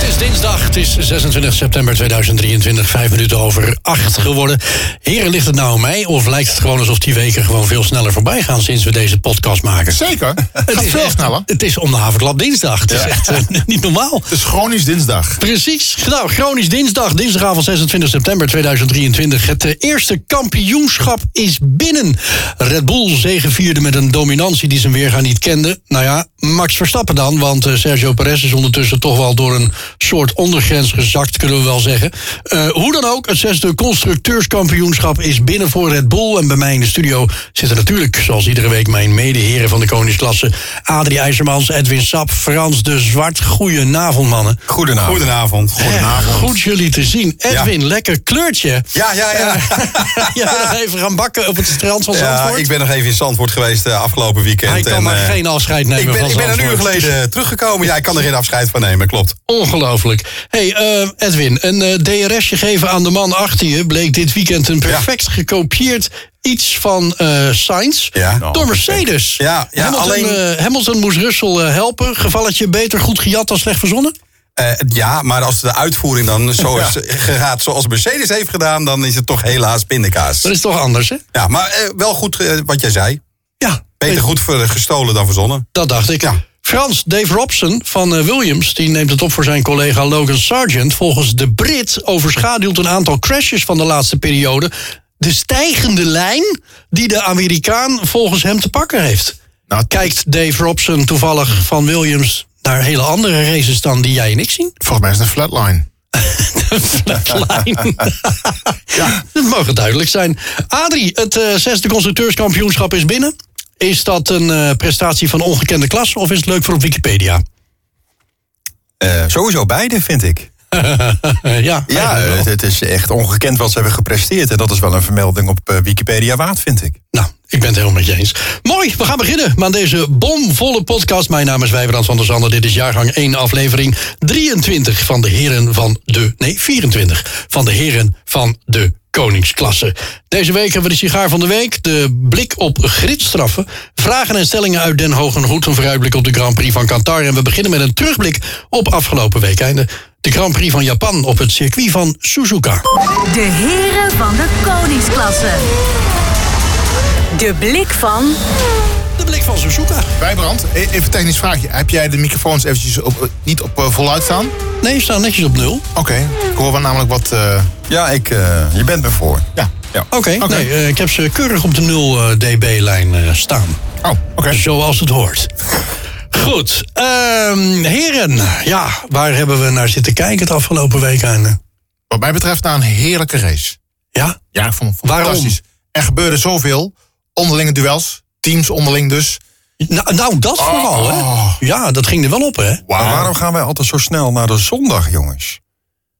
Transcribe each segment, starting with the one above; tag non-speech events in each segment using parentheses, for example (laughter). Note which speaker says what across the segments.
Speaker 1: Het is dinsdag, het is 26 september 2023, vijf minuten over acht geworden. Heren, ligt het nou aan mij of lijkt het gewoon alsof die weken gewoon veel sneller voorbij gaan sinds we deze podcast maken?
Speaker 2: Zeker. Het gaat
Speaker 1: is
Speaker 2: veel
Speaker 1: echt-
Speaker 2: sneller.
Speaker 1: Het is om de haverklap dinsdag. Het is echt eh, (laughs) niet normaal.
Speaker 2: Het is chronisch dinsdag.
Speaker 1: Precies. Nou, Gronings dinsdag, dinsdagavond 26 september 2023. Het eh, eerste kampioenschap is binnen. Red Bull zegevierde met een dominantie die zijn weerga niet kende. Nou ja, Max Verstappen dan, want eh, Sergio Perez is ondertussen toch wel door een soort ondergrens gezakt, kunnen we wel zeggen. Eh, hoe dan ook, het zesde constructeurskampioenschap is binnen voor Red Bull. En bij mij in de studio zitten natuurlijk, zoals iedere week, mijn medeheren van de koningsklasse. Adrie IJzermans, Edwin Sap, Frans de Zwart. Goedenavond, mannen.
Speaker 3: Goedenavond.
Speaker 2: Goedenavond.
Speaker 1: Erg Goed jullie te zien. Edwin, lekker kleurtje. (laughs)
Speaker 3: Ja, ja, ja.
Speaker 1: Jij bent nog even gaan bakken op het strand van
Speaker 3: ja
Speaker 1: Zandvoort.
Speaker 3: ik ben nog even in Zandvoort geweest eh, afgelopen weekend.
Speaker 1: Hij kan maar
Speaker 3: eh,
Speaker 1: geen afscheid nemen
Speaker 3: ik ben,
Speaker 1: van
Speaker 3: Ik ben een uur
Speaker 1: Zandvoort.
Speaker 3: geleden teruggekomen. Ja, ik kan er geen afscheid van nemen, klopt.
Speaker 1: Ongelooflijk. hey, eh, Edwin, een eh, DRSje geven aan de man achter je... bleek dit weekend een perfect gekopieerd iets van eh Sainz
Speaker 3: Ja.
Speaker 1: door Mercedes.
Speaker 3: Ja, ja,
Speaker 1: Hamilton,
Speaker 3: alleen-
Speaker 1: eh, Hamilton moest Russell eh, helpen. Gevalletje beter goed gejat dan slecht verzonnen?
Speaker 3: Eh, ja, maar als de uitvoering dan zo is gegaat zoals Mercedes heeft gedaan... dan is het toch helaas pindakaas.
Speaker 1: Dat is toch anders, hè?
Speaker 3: Ja, maar eh, wel goed eh, wat jij zei.
Speaker 1: Ja.
Speaker 3: Beter goed voor, eh, gestolen dan verzonnen.
Speaker 1: Dat dacht ik.
Speaker 3: Ja.
Speaker 1: Frans, Dave Robson van eh, Williams, die neemt het op voor zijn collega Logan Sargent. Volgens de Brit overschaduwt een aantal crashes van de laatste periode de stijgende lijn die de Amerikaan volgens hem te pakken heeft.
Speaker 2: Nou,
Speaker 1: Kijkt Dave Robson toevallig van Williams naar hele andere races dan die jij en ik zien? (laughs)
Speaker 2: Volgens mij is het een flatline.
Speaker 1: Flatline. Dat mag duidelijk zijn. Adrie, het eh, zesde constructeurskampioenschap is binnen. Is dat een eh, prestatie van ongekende klasse of is het leuk voor op Wikipedia?
Speaker 4: Eh, sowieso beide, vind ik.
Speaker 1: Eh, ja,
Speaker 4: Ja,
Speaker 1: eigenlijk wel.
Speaker 4: eh, het is echt ongekend wat ze hebben gepresteerd. En dat is wel een vermelding op eh, Wikipedia waard, vind ik.
Speaker 1: Nou, ik ben het helemaal met je eens. Mooi, we gaan beginnen aan deze bomvolle podcast. Mijn naam is Wijbrand van der Zanden. Dit is jaargang 1, aflevering 23 van de heren van de... Nee, 24 van de heren van de koningsklasse. Deze week hebben we de sigaar van de week, de blik op gridstraffen... vragen en stellingen uit Den Hoog en Goed... een vooruitblik op de Grand Prix van Qatar. En we beginnen met een terugblik op afgelopen weekeinde. De Grand Prix van Japan op het circuit van Suzuka.
Speaker 5: De heren van de koningsklasse. De blik van
Speaker 1: De blik van Suzuka.
Speaker 2: Wijbrand, e- even een technisch vraagje. Heb jij de microfoons eventjes op, eh, niet op eh, voluit staan? Oké,
Speaker 1: Nee, we staan netjes op nul.
Speaker 2: ik hoor wel namelijk wat... eh,
Speaker 4: Ja, ik, eh, je bent me voor.
Speaker 2: ja.
Speaker 4: Ja.
Speaker 1: Oké,
Speaker 2: Oké.
Speaker 1: nee, eh, ik heb ze keurig op de 0 eh, dB-lijn eh, staan.
Speaker 2: Oh, oké.
Speaker 1: Zoals het hoort. Goed, ehm, heren. Ja, waar hebben we naar zitten kijken het afgelopen weekende?
Speaker 2: Wat mij betreft na een heerlijke race.
Speaker 1: Ja?
Speaker 2: Ja, ik vond het
Speaker 1: Waarom?
Speaker 2: fantastisch. Er gebeurde zoveel. Onderlinge duels. Teams onderling dus.
Speaker 1: Nou, nou, dat
Speaker 3: Oh,
Speaker 1: vooral, hè? Ja, dat ging er wel op, hè?
Speaker 4: Maar waarom gaan wij altijd zo snel naar de zondag, jongens?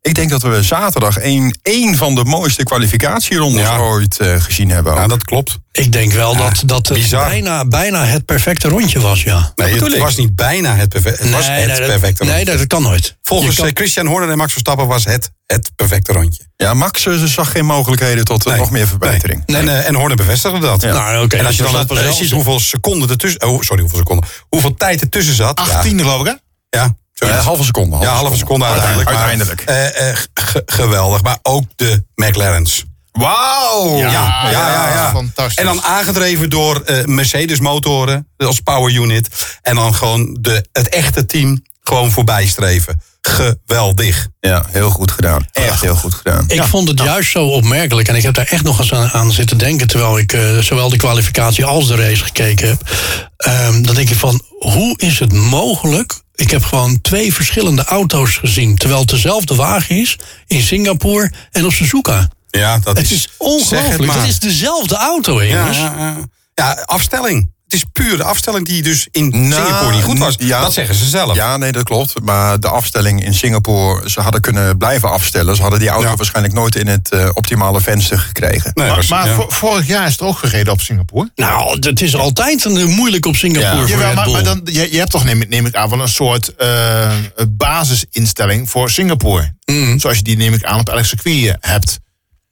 Speaker 4: Ik denk dat we zaterdag één, één van de mooiste kwalificatierondes
Speaker 3: Ja.
Speaker 4: ooit eh, gezien hebben.
Speaker 3: Ja,
Speaker 4: ook.
Speaker 3: dat klopt.
Speaker 1: Ik denk wel dat, dat het
Speaker 3: bizar.
Speaker 1: bijna, bijna het perfecte rondje was, ja.
Speaker 3: Nee,
Speaker 4: bedoel
Speaker 3: het
Speaker 4: ik.
Speaker 3: was niet bijna het, perfect, het was het
Speaker 1: dat,
Speaker 3: perfecte
Speaker 1: Nee,
Speaker 3: rondje.
Speaker 1: dat, dat kan nooit.
Speaker 3: Volgens
Speaker 1: Je kan-
Speaker 3: eh, Christian Horner en Max Verstappen was het het perfecte rondje.
Speaker 4: Ja, Max eh, zag geen mogelijkheden tot eh,
Speaker 3: Nee.
Speaker 4: nog meer verbetering.
Speaker 3: Nee. En, eh, en Horner bevestigde dat.
Speaker 1: Nou, oké,
Speaker 3: en als je
Speaker 1: dus
Speaker 3: dan
Speaker 1: dat was wel-
Speaker 3: precies ziet hoeveel seconden ertussen... Oh, sorry, hoeveel seconden. Hoeveel tijd ertussen zat.
Speaker 2: 18 geloof ik, hè?
Speaker 3: Ja, ja zoiets.
Speaker 4: Eh, halve seconde.
Speaker 3: ja, halve seconde uiteindelijk. maar,
Speaker 4: Uiteindelijk.
Speaker 3: eh, eh, ge- ge- geweldig. Maar ook de McLaren's.
Speaker 4: Wauw!
Speaker 3: Ja, ja, ja. ja,
Speaker 2: ja, fantastisch.
Speaker 3: En dan aangedreven door eh, Mercedes-motoren als power unit. En dan gewoon de, het echte team gewoon voorbij streven. Geweldig.
Speaker 4: Ja, heel goed gedaan. Echt heel goed gedaan.
Speaker 1: Ik vond het juist zo opmerkelijk. En ik heb daar echt nog eens aan, aan zitten denken. Terwijl ik eh, zowel de kwalificatie als de race gekeken heb. Ehm, dan denk ik van, hoe is het mogelijk? Ik heb gewoon twee verschillende auto's gezien. Terwijl het dezelfde wagen is in Singapore en op Suzuka.
Speaker 3: Ja, dat
Speaker 1: Het is ongelooflijk. Het is dezelfde auto,
Speaker 3: ja,
Speaker 1: jongens.
Speaker 3: ja, ja. Ja, afstelling. Het is puur de afstelling die dus in
Speaker 2: Nou,
Speaker 3: Singapore niet goed was.
Speaker 4: ja.
Speaker 3: dat zeggen ze zelf.
Speaker 4: Ja, nee, dat klopt. Maar de afstelling in Singapore, ze hadden kunnen blijven afstellen. Ze hadden die auto
Speaker 3: Ja.
Speaker 4: waarschijnlijk nooit in het eh, optimale venster gekregen.
Speaker 3: Nee,
Speaker 2: Maar,
Speaker 3: was-
Speaker 2: maar
Speaker 3: ja.
Speaker 2: vo- vorig jaar is het ook gereden op Singapore.
Speaker 1: Nou, het is altijd een, eh, moeilijk op Singapore
Speaker 4: Ja.
Speaker 1: voor
Speaker 2: Jawel,
Speaker 1: Red
Speaker 2: maar,
Speaker 1: Bull.
Speaker 2: maar dan, je, je hebt toch, neem, ik- neem ik aan, wel een soort eh, basisinstelling voor Singapore. Zoals je die, neem ik aan, op elk circuit eh, hebt.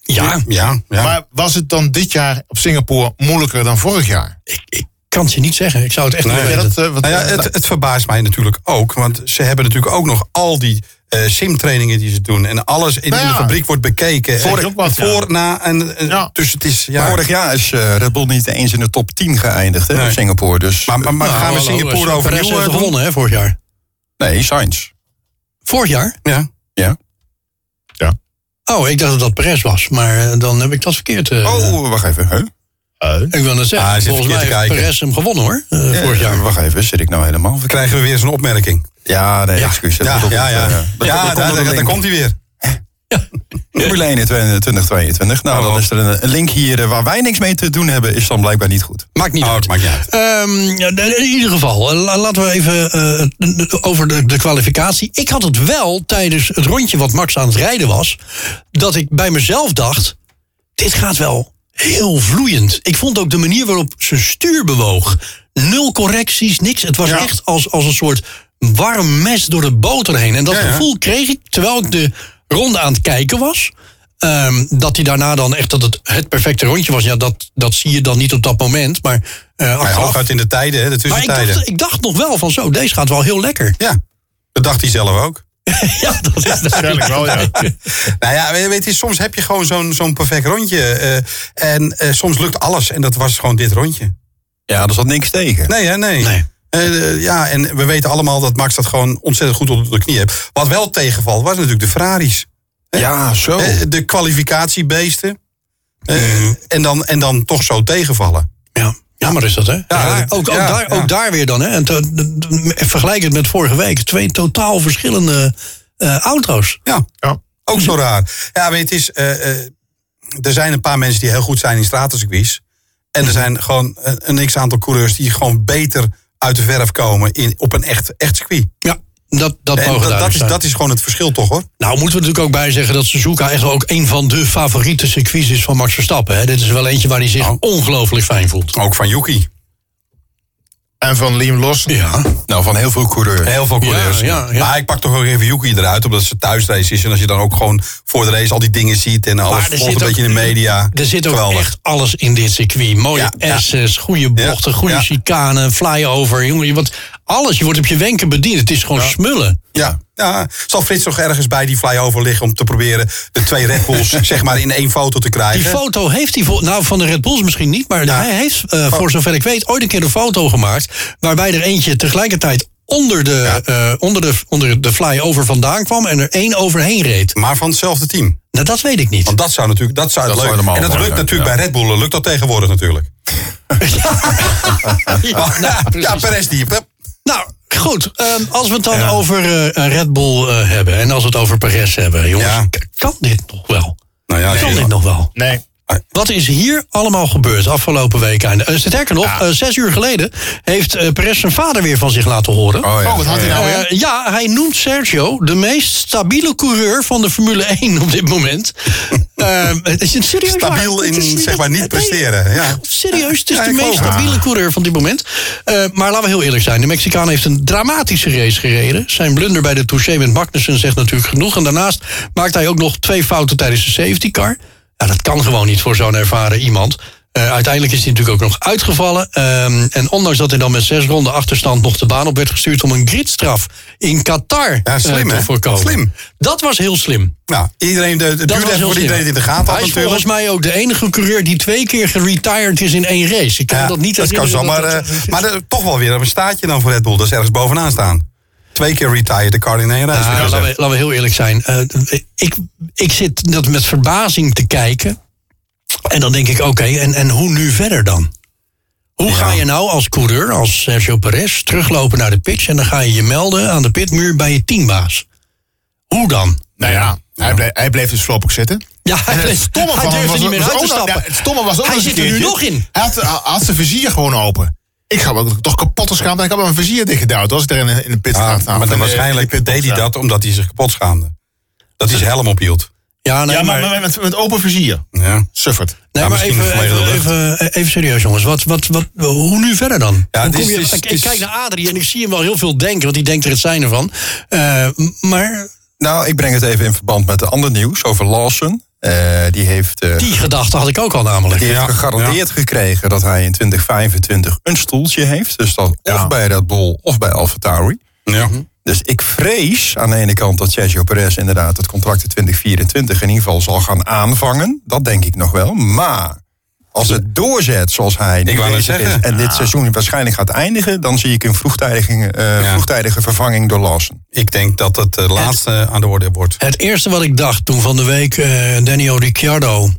Speaker 1: ja,
Speaker 3: ja, ja.
Speaker 2: Maar was het dan dit jaar op Singapore moeilijker dan vorig jaar?
Speaker 1: ik, ik kan het je niet zeggen. Ik zou het echt
Speaker 3: Nee,
Speaker 1: niet
Speaker 3: ja,
Speaker 1: weten.
Speaker 2: dat, eh, wat-
Speaker 3: Nou ja, het, het verbaast mij natuurlijk ook. Want ze hebben natuurlijk ook nog al die eh simtrainingen die ze doen. En alles in
Speaker 2: Nou ja.
Speaker 3: de fabriek wordt bekeken.
Speaker 2: Vorig-
Speaker 3: Eh,
Speaker 2: ook wat, ja.
Speaker 3: voor, na en... eh,
Speaker 2: Ja.
Speaker 3: Dus het is... Ja,
Speaker 4: Maar Vorig jaar is eh, Red Bull niet eens in de top 10 geëindigd hè,
Speaker 3: Nee.
Speaker 4: op Singapore. Dus,
Speaker 3: maar maar, maar
Speaker 1: Nou,
Speaker 3: gaan we
Speaker 1: hallo,
Speaker 3: Singapore
Speaker 1: Perez
Speaker 3: overnieuw
Speaker 1: heeft
Speaker 3: eh, doen?
Speaker 1: gewonnen, hè, vorig jaar.
Speaker 4: nee, Sainz.
Speaker 1: Vorig jaar?
Speaker 3: Ja.
Speaker 4: Ja.
Speaker 1: Oh, ik dacht dat dat Perez was, maar eh, dan heb ik dat verkeerd. eh,
Speaker 4: Oh, wacht even. Huh?
Speaker 1: Ik wil net zeggen,
Speaker 3: Ah, hij zit
Speaker 1: volgens mij
Speaker 3: verkeerd te
Speaker 1: heeft
Speaker 3: kijken.
Speaker 1: Perez hem gewonnen hoor, eh,
Speaker 4: Eh,
Speaker 1: vorig jaar.
Speaker 4: Wacht even, zit ik nou helemaal verkeerd?
Speaker 3: Krijgen we weer zo'n opmerking.
Speaker 4: Ja, nee,
Speaker 1: Ja.
Speaker 4: excuus. Dat
Speaker 3: Ja,
Speaker 4: bedoel
Speaker 3: ja,
Speaker 4: ik,
Speaker 3: ja.
Speaker 4: eh,
Speaker 3: Ja,
Speaker 4: dat- dat
Speaker 3: daar-
Speaker 4: komt door
Speaker 3: daar
Speaker 4: de
Speaker 3: daar
Speaker 4: link.
Speaker 3: komt hij weer.
Speaker 4: Formule 1 in 2022. Nou,
Speaker 3: Oh.
Speaker 4: dan is er een, een link hier eh, waar wij niks mee te doen hebben, is dan blijkbaar niet goed.
Speaker 1: Maakt niet
Speaker 3: Oh,
Speaker 1: uit.
Speaker 3: het maakt niet uit.
Speaker 1: Ehm, ja, in ieder geval, eh, la- laten we even eh, n- over de, de kwalificatie. Ik had het wel tijdens het rondje wat Max aan het rijden was, dat ik bij mezelf dacht: dit gaat wel heel vloeiend. Ik vond ook de manier waarop zijn stuur bewoog. Nul correcties, niks. Het was echt als, als een soort warm mes door de boter heen. En dat
Speaker 3: Ja, ja.
Speaker 1: gevoel kreeg ik terwijl ik de ronde aan het kijken was. Ehm, dat hij daarna dan echt dat het het perfecte rondje was. Ja, dat, dat zie je dan niet op dat moment. Maar, eh,
Speaker 3: Maar ja,
Speaker 1: achteraf-
Speaker 3: hooguit in de tijden, hè, de
Speaker 1: maar ik
Speaker 3: tussentijden.
Speaker 1: dacht, ik dacht nog wel van zo, deze gaat wel heel lekker.
Speaker 3: Ja, dat dacht hij zelf ook.
Speaker 1: Ja, dat is
Speaker 2: Waarschijnlijk
Speaker 1: (laughs)
Speaker 2: wel, ja.
Speaker 3: Nou ja, weet je, weet je, soms heb je gewoon zo'n zo'n perfect rondje. eh, en eh, soms lukt alles. En dat was gewoon dit rondje.
Speaker 4: Ja, er zat niks tegen.
Speaker 3: Nee, hè, nee.
Speaker 1: Nee.
Speaker 3: Eh, eh, ja, en we weten allemaal dat Max dat gewoon ontzettend goed op de knie heeft. Wat wel tegenvalt, was natuurlijk de Ferraris.
Speaker 4: Ja, zo.
Speaker 3: Eh, de kwalificatiebeesten. Eh, en, dan, en dan toch zo tegenvallen.
Speaker 1: Ja, jammer is dat, hè? Ja,
Speaker 3: dat-
Speaker 1: ook, ook,
Speaker 3: ja,
Speaker 1: daar,
Speaker 3: ja.
Speaker 1: ook daar weer dan, hè? En te- de- de- vergelijk het met vorige week. Twee totaal verschillende eh, auto's.
Speaker 3: Ja,
Speaker 2: Ja.
Speaker 3: ook zo raar. Ja, weet je, het is, eh, eh, er zijn een paar mensen die heel goed zijn in stratencircuits. En er zijn gewoon een, een x-aantal coureurs die gewoon beter uit de verf komen in, op een echt, echt circuit.
Speaker 1: Ja, dat, dat mogen
Speaker 3: En dat, dat,
Speaker 1: duidelijk
Speaker 3: is,
Speaker 1: zijn.
Speaker 3: dat is gewoon het verschil toch hoor.
Speaker 1: Nou, moeten we natuurlijk ook bij zeggen dat Suzuka echt wel ook een van de favoriete circuits is van Max Verstappen. Hè? Dit is wel eentje waar hij
Speaker 3: Nou.
Speaker 1: zich ongelooflijk fijn voelt.
Speaker 3: Ook van Yuki.
Speaker 2: En van Liam Lawson.
Speaker 1: Ja,
Speaker 4: Nou, van heel veel coureurs.
Speaker 3: Heel veel coureurs.
Speaker 1: Ja, ja, ja.
Speaker 3: Maar ik pak toch ook even Yuki eruit, omdat ze thuisrace is. En als je dan ook gewoon voor de race al die dingen ziet en alles
Speaker 1: er
Speaker 3: volgt
Speaker 1: zit
Speaker 3: een
Speaker 1: ook-
Speaker 3: beetje in de media.
Speaker 1: er zit ook
Speaker 3: Geweldig.
Speaker 1: echt alles in dit circuit. Mooie
Speaker 3: Ja, ja.
Speaker 1: S's, goede bochten, goede
Speaker 3: ja.
Speaker 1: chicanen, flyover. Jongen, je wordt, alles, je wordt op je wenken bediend. Het is gewoon smullen.
Speaker 3: Ja. ja. Zal Frits toch ergens bij die flyover liggen om te proberen de twee Red Bulls (laughs) zeg maar in één foto te krijgen?
Speaker 1: Die foto heeft hij, vol- nou van de Red Bulls misschien niet, maar hij heeft, eh, voor zover ik weet, ooit een keer een foto gemaakt. waarbij er eentje tegelijkertijd onder de, eh, onder de, onder de flyover vandaan kwam en er één overheen reed.
Speaker 3: maar van hetzelfde team.
Speaker 1: Nou, dat weet ik niet.
Speaker 3: Want dat zou natuurlijk, dat zou,
Speaker 4: Dat
Speaker 3: leuk.
Speaker 4: zou helemaal
Speaker 3: en dat
Speaker 4: mooi
Speaker 3: lukt
Speaker 4: zijn,
Speaker 3: natuurlijk
Speaker 4: ja.
Speaker 3: bij Red Bull, lukt dat tegenwoordig natuurlijk.
Speaker 1: Ja, nou,
Speaker 3: (laughs) ja,
Speaker 1: precies.
Speaker 3: Perez die. eh, hup.
Speaker 1: Nou, goed. ehm, als we het dan over eh, Red Bull eh, hebben en als we het over Perez hebben, jongens,
Speaker 3: Ja.
Speaker 1: k- kan dit nog wel?
Speaker 3: Nou ja,
Speaker 1: Kan
Speaker 3: ja.
Speaker 1: dit nog wel?
Speaker 2: Nee.
Speaker 1: Wat is hier allemaal gebeurd afgelopen week? Uh, sterker nog, eh, zes uur geleden heeft eh, Perez zijn vader weer van zich laten horen.
Speaker 2: Oh, wat had hij nou weer?
Speaker 1: Eh, ja, hij noemt Sergio de meest stabiele coureur van de Formule 1 op dit moment. (laughs) Eh, het is een serieus
Speaker 3: Stabiel
Speaker 1: waar. Het is
Speaker 3: in,
Speaker 1: niet-
Speaker 3: zeg maar, niet
Speaker 1: Nee,
Speaker 3: presteren. Ja.
Speaker 1: Serieus, het is
Speaker 3: Ja,
Speaker 1: de
Speaker 3: ik
Speaker 1: meest
Speaker 3: geloof het.
Speaker 1: stabiele coureur van dit moment. Eh, maar laten we heel eerlijk zijn. De Mexicaan heeft een dramatische race gereden. Zijn blunder bij de touché met Magnussen zegt natuurlijk genoeg. En daarnaast maakt hij ook nog twee fouten tijdens de safety car. Ja, dat kan gewoon niet voor zo'n ervaren iemand. Eh, Eh, uiteindelijk is hij natuurlijk ook nog uitgevallen. Ehm, en ondanks dat hij dan met zes ronden achterstand nog de baan op werd gestuurd... om een gridstraf in Qatar
Speaker 3: Ja, slim,
Speaker 1: eh, te
Speaker 3: hè?
Speaker 1: voorkomen.
Speaker 3: Slim.
Speaker 1: Dat was heel slim.
Speaker 3: Nou, iedereen, de,
Speaker 1: Dat
Speaker 3: het duurde
Speaker 1: was
Speaker 3: even
Speaker 1: heel
Speaker 3: voor
Speaker 1: slim.
Speaker 3: iedereen het in de gaten had
Speaker 1: Hij is
Speaker 3: natuurlijk.
Speaker 1: volgens mij ook de enige coureur die twee keer geretired is in één race. Ik kan
Speaker 3: Ja,
Speaker 1: dat niet
Speaker 3: dat kan
Speaker 1: herinneren
Speaker 3: zomaar.
Speaker 1: dat
Speaker 3: eh,
Speaker 1: dat-
Speaker 3: maar er- toch wel weer een staatje dan voor Red Bull. Dat is ergens bovenaan staan. Twee keer retired, de card in één race.
Speaker 4: Nou,
Speaker 3: dus, eh,
Speaker 1: Ja,
Speaker 3: weer
Speaker 1: laten,
Speaker 3: gezegd.
Speaker 1: we, laten we heel eerlijk zijn. Eh, ik, ik zit dat met verbazing te kijken. En dan denk ik, oké, en, en hoe nu verder dan? Hoe ga je nou als coureur, als Sergio Perez, teruglopen naar de pitch... en dan ga je je melden aan de pitmuur bij je teambaas? Hoe dan?
Speaker 2: Nou ja, hij, bleef, hij bleef dus voorlopig zitten.
Speaker 1: Ja, hij
Speaker 2: En
Speaker 1: bleef-
Speaker 2: het stomme
Speaker 1: hij
Speaker 2: van hem
Speaker 1: durfde
Speaker 2: was
Speaker 1: niet meer
Speaker 2: was
Speaker 1: uit te
Speaker 2: ook nog-
Speaker 1: stappen.
Speaker 2: ja, Het stomme was ook
Speaker 1: Hij
Speaker 2: nog eens
Speaker 1: zit er
Speaker 2: een
Speaker 1: nu
Speaker 2: keertje.
Speaker 1: nog in.
Speaker 2: Hij had, hij had zijn vizier gewoon open. Ik ga ook toch kapot geschaamd en ik had mijn vizier dichtgedouwd als ik er in, de- in de pit
Speaker 1: Ah,
Speaker 2: Nou, eh,
Speaker 3: Ja,
Speaker 2: staat.
Speaker 3: maar dan
Speaker 4: eh,
Speaker 3: waarschijnlijk deed hij dat omdat hij zich kapot schaamde. Dat hij zijn helm ophield.
Speaker 1: Ja, nee,
Speaker 2: Ja, maar,
Speaker 1: maar-
Speaker 2: maar met, met open vizier.
Speaker 3: Ja.
Speaker 2: Suffert.
Speaker 1: Nee,
Speaker 3: Ja,
Speaker 1: maar
Speaker 3: misschien
Speaker 1: even,
Speaker 3: een
Speaker 1: even,
Speaker 3: volledige
Speaker 1: even, even serieus, jongens. Wat, wat, wat, hoe nu verder dan?
Speaker 3: Ja,
Speaker 1: Hoe
Speaker 3: het is-
Speaker 1: kom je-
Speaker 3: het is-
Speaker 1: ik, ik
Speaker 3: het is-
Speaker 1: kijk naar Adrie en ik zie hem wel heel veel denken, want die denkt er het zijn ervan. Eh, m- maar
Speaker 4: Nou, ik breng het even in verband met de ander nieuws over Lawson. Eh, die heeft, eh,
Speaker 1: die gedachte had ik ook al namelijk.
Speaker 4: die heeft
Speaker 3: Ja,
Speaker 4: gegarandeerd gekregen dat hij in 2025 een stoeltje heeft. Dus dat
Speaker 2: Ja.
Speaker 4: of bij Red Bull of bij AlphaTauri.
Speaker 3: Ja.
Speaker 4: Dus ik vrees aan de ene kant dat Sergio Perez inderdaad het contract in 2024 in ieder geval zal gaan aanvangen. Dat denk ik nog wel. Maar als het doorzet zoals hij nu
Speaker 3: Ik wou net
Speaker 4: bezig is
Speaker 3: zeggen.
Speaker 4: en dit seizoen waarschijnlijk gaat eindigen, dan zie ik een vroegtijdige, eh,
Speaker 3: Ja.
Speaker 4: vroegtijdige vervanging door Lawson.
Speaker 3: Ik denk dat het de laatste aan de orde wordt.
Speaker 1: Het eerste wat ik dacht toen van de week eh Daniel Ricciardo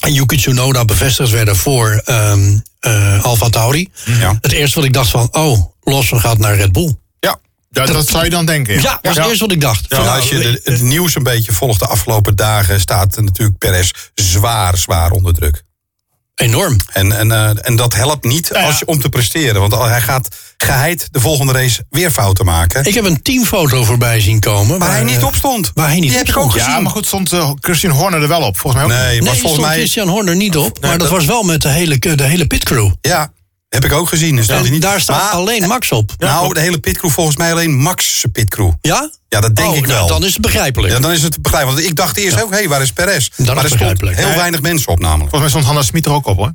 Speaker 1: en Yuki Tsunoda bevestigd werden voor ehm eh Alfa Tauri.
Speaker 3: Ja.
Speaker 1: Het eerste wat ik dacht van, oh, Lawson gaat naar Red Bull.
Speaker 4: Ja,
Speaker 2: Ja, dat, zou je dan denken.
Speaker 1: Ja, dat was het eerste wat ik dacht. Van,
Speaker 3: Ja,
Speaker 1: nou,
Speaker 3: als je
Speaker 1: we-
Speaker 3: de- het nieuws een beetje volgt de afgelopen dagen, staat er natuurlijk Perez zwaar, zwaar onder druk.
Speaker 1: Enorm.
Speaker 3: En, en, eh, en dat helpt niet
Speaker 2: ja.
Speaker 3: als je, om te presteren. Want hij gaat geheid de volgende race weer fouten maken.
Speaker 1: Ik heb een teamfoto voorbij zien komen.
Speaker 3: waar hij niet
Speaker 1: eh,
Speaker 3: op stond.
Speaker 1: Waar hij niet
Speaker 3: Die
Speaker 1: op
Speaker 3: heb ik ook
Speaker 1: stond.
Speaker 3: gezien.
Speaker 2: Ja, maar goed, stond eh, Christian Horner er wel op. Volgens mij ook.
Speaker 3: Nee,
Speaker 1: Nee,
Speaker 3: maar
Speaker 1: er
Speaker 3: volgens
Speaker 1: stond
Speaker 3: mij...
Speaker 1: Christian Horner niet op. Maar dat
Speaker 3: dat-
Speaker 1: was wel met de hele, de hele pitcrew.
Speaker 3: Ja, heb ik ook gezien. Dus dat hij
Speaker 1: En
Speaker 3: niet,
Speaker 1: daar staat
Speaker 3: maar-
Speaker 1: alleen Max op.
Speaker 3: nou, de hele pitcrew volgens mij alleen Max' pitcrew.
Speaker 1: Ja?
Speaker 3: Ja, dat denk
Speaker 1: Oh,
Speaker 3: ik
Speaker 1: nou,
Speaker 3: wel.
Speaker 1: dan is het begrijpelijk.
Speaker 3: Ja, dan is het te begrijpen. Want ik dacht eerst ook, hé, hey, waar is Perez?
Speaker 1: is
Speaker 3: maar er stond
Speaker 1: begrijpelijk.
Speaker 3: heel
Speaker 1: Ja.
Speaker 3: weinig mensen op namelijk.
Speaker 2: Volgens mij stond Hanna Smit er ook op hoor.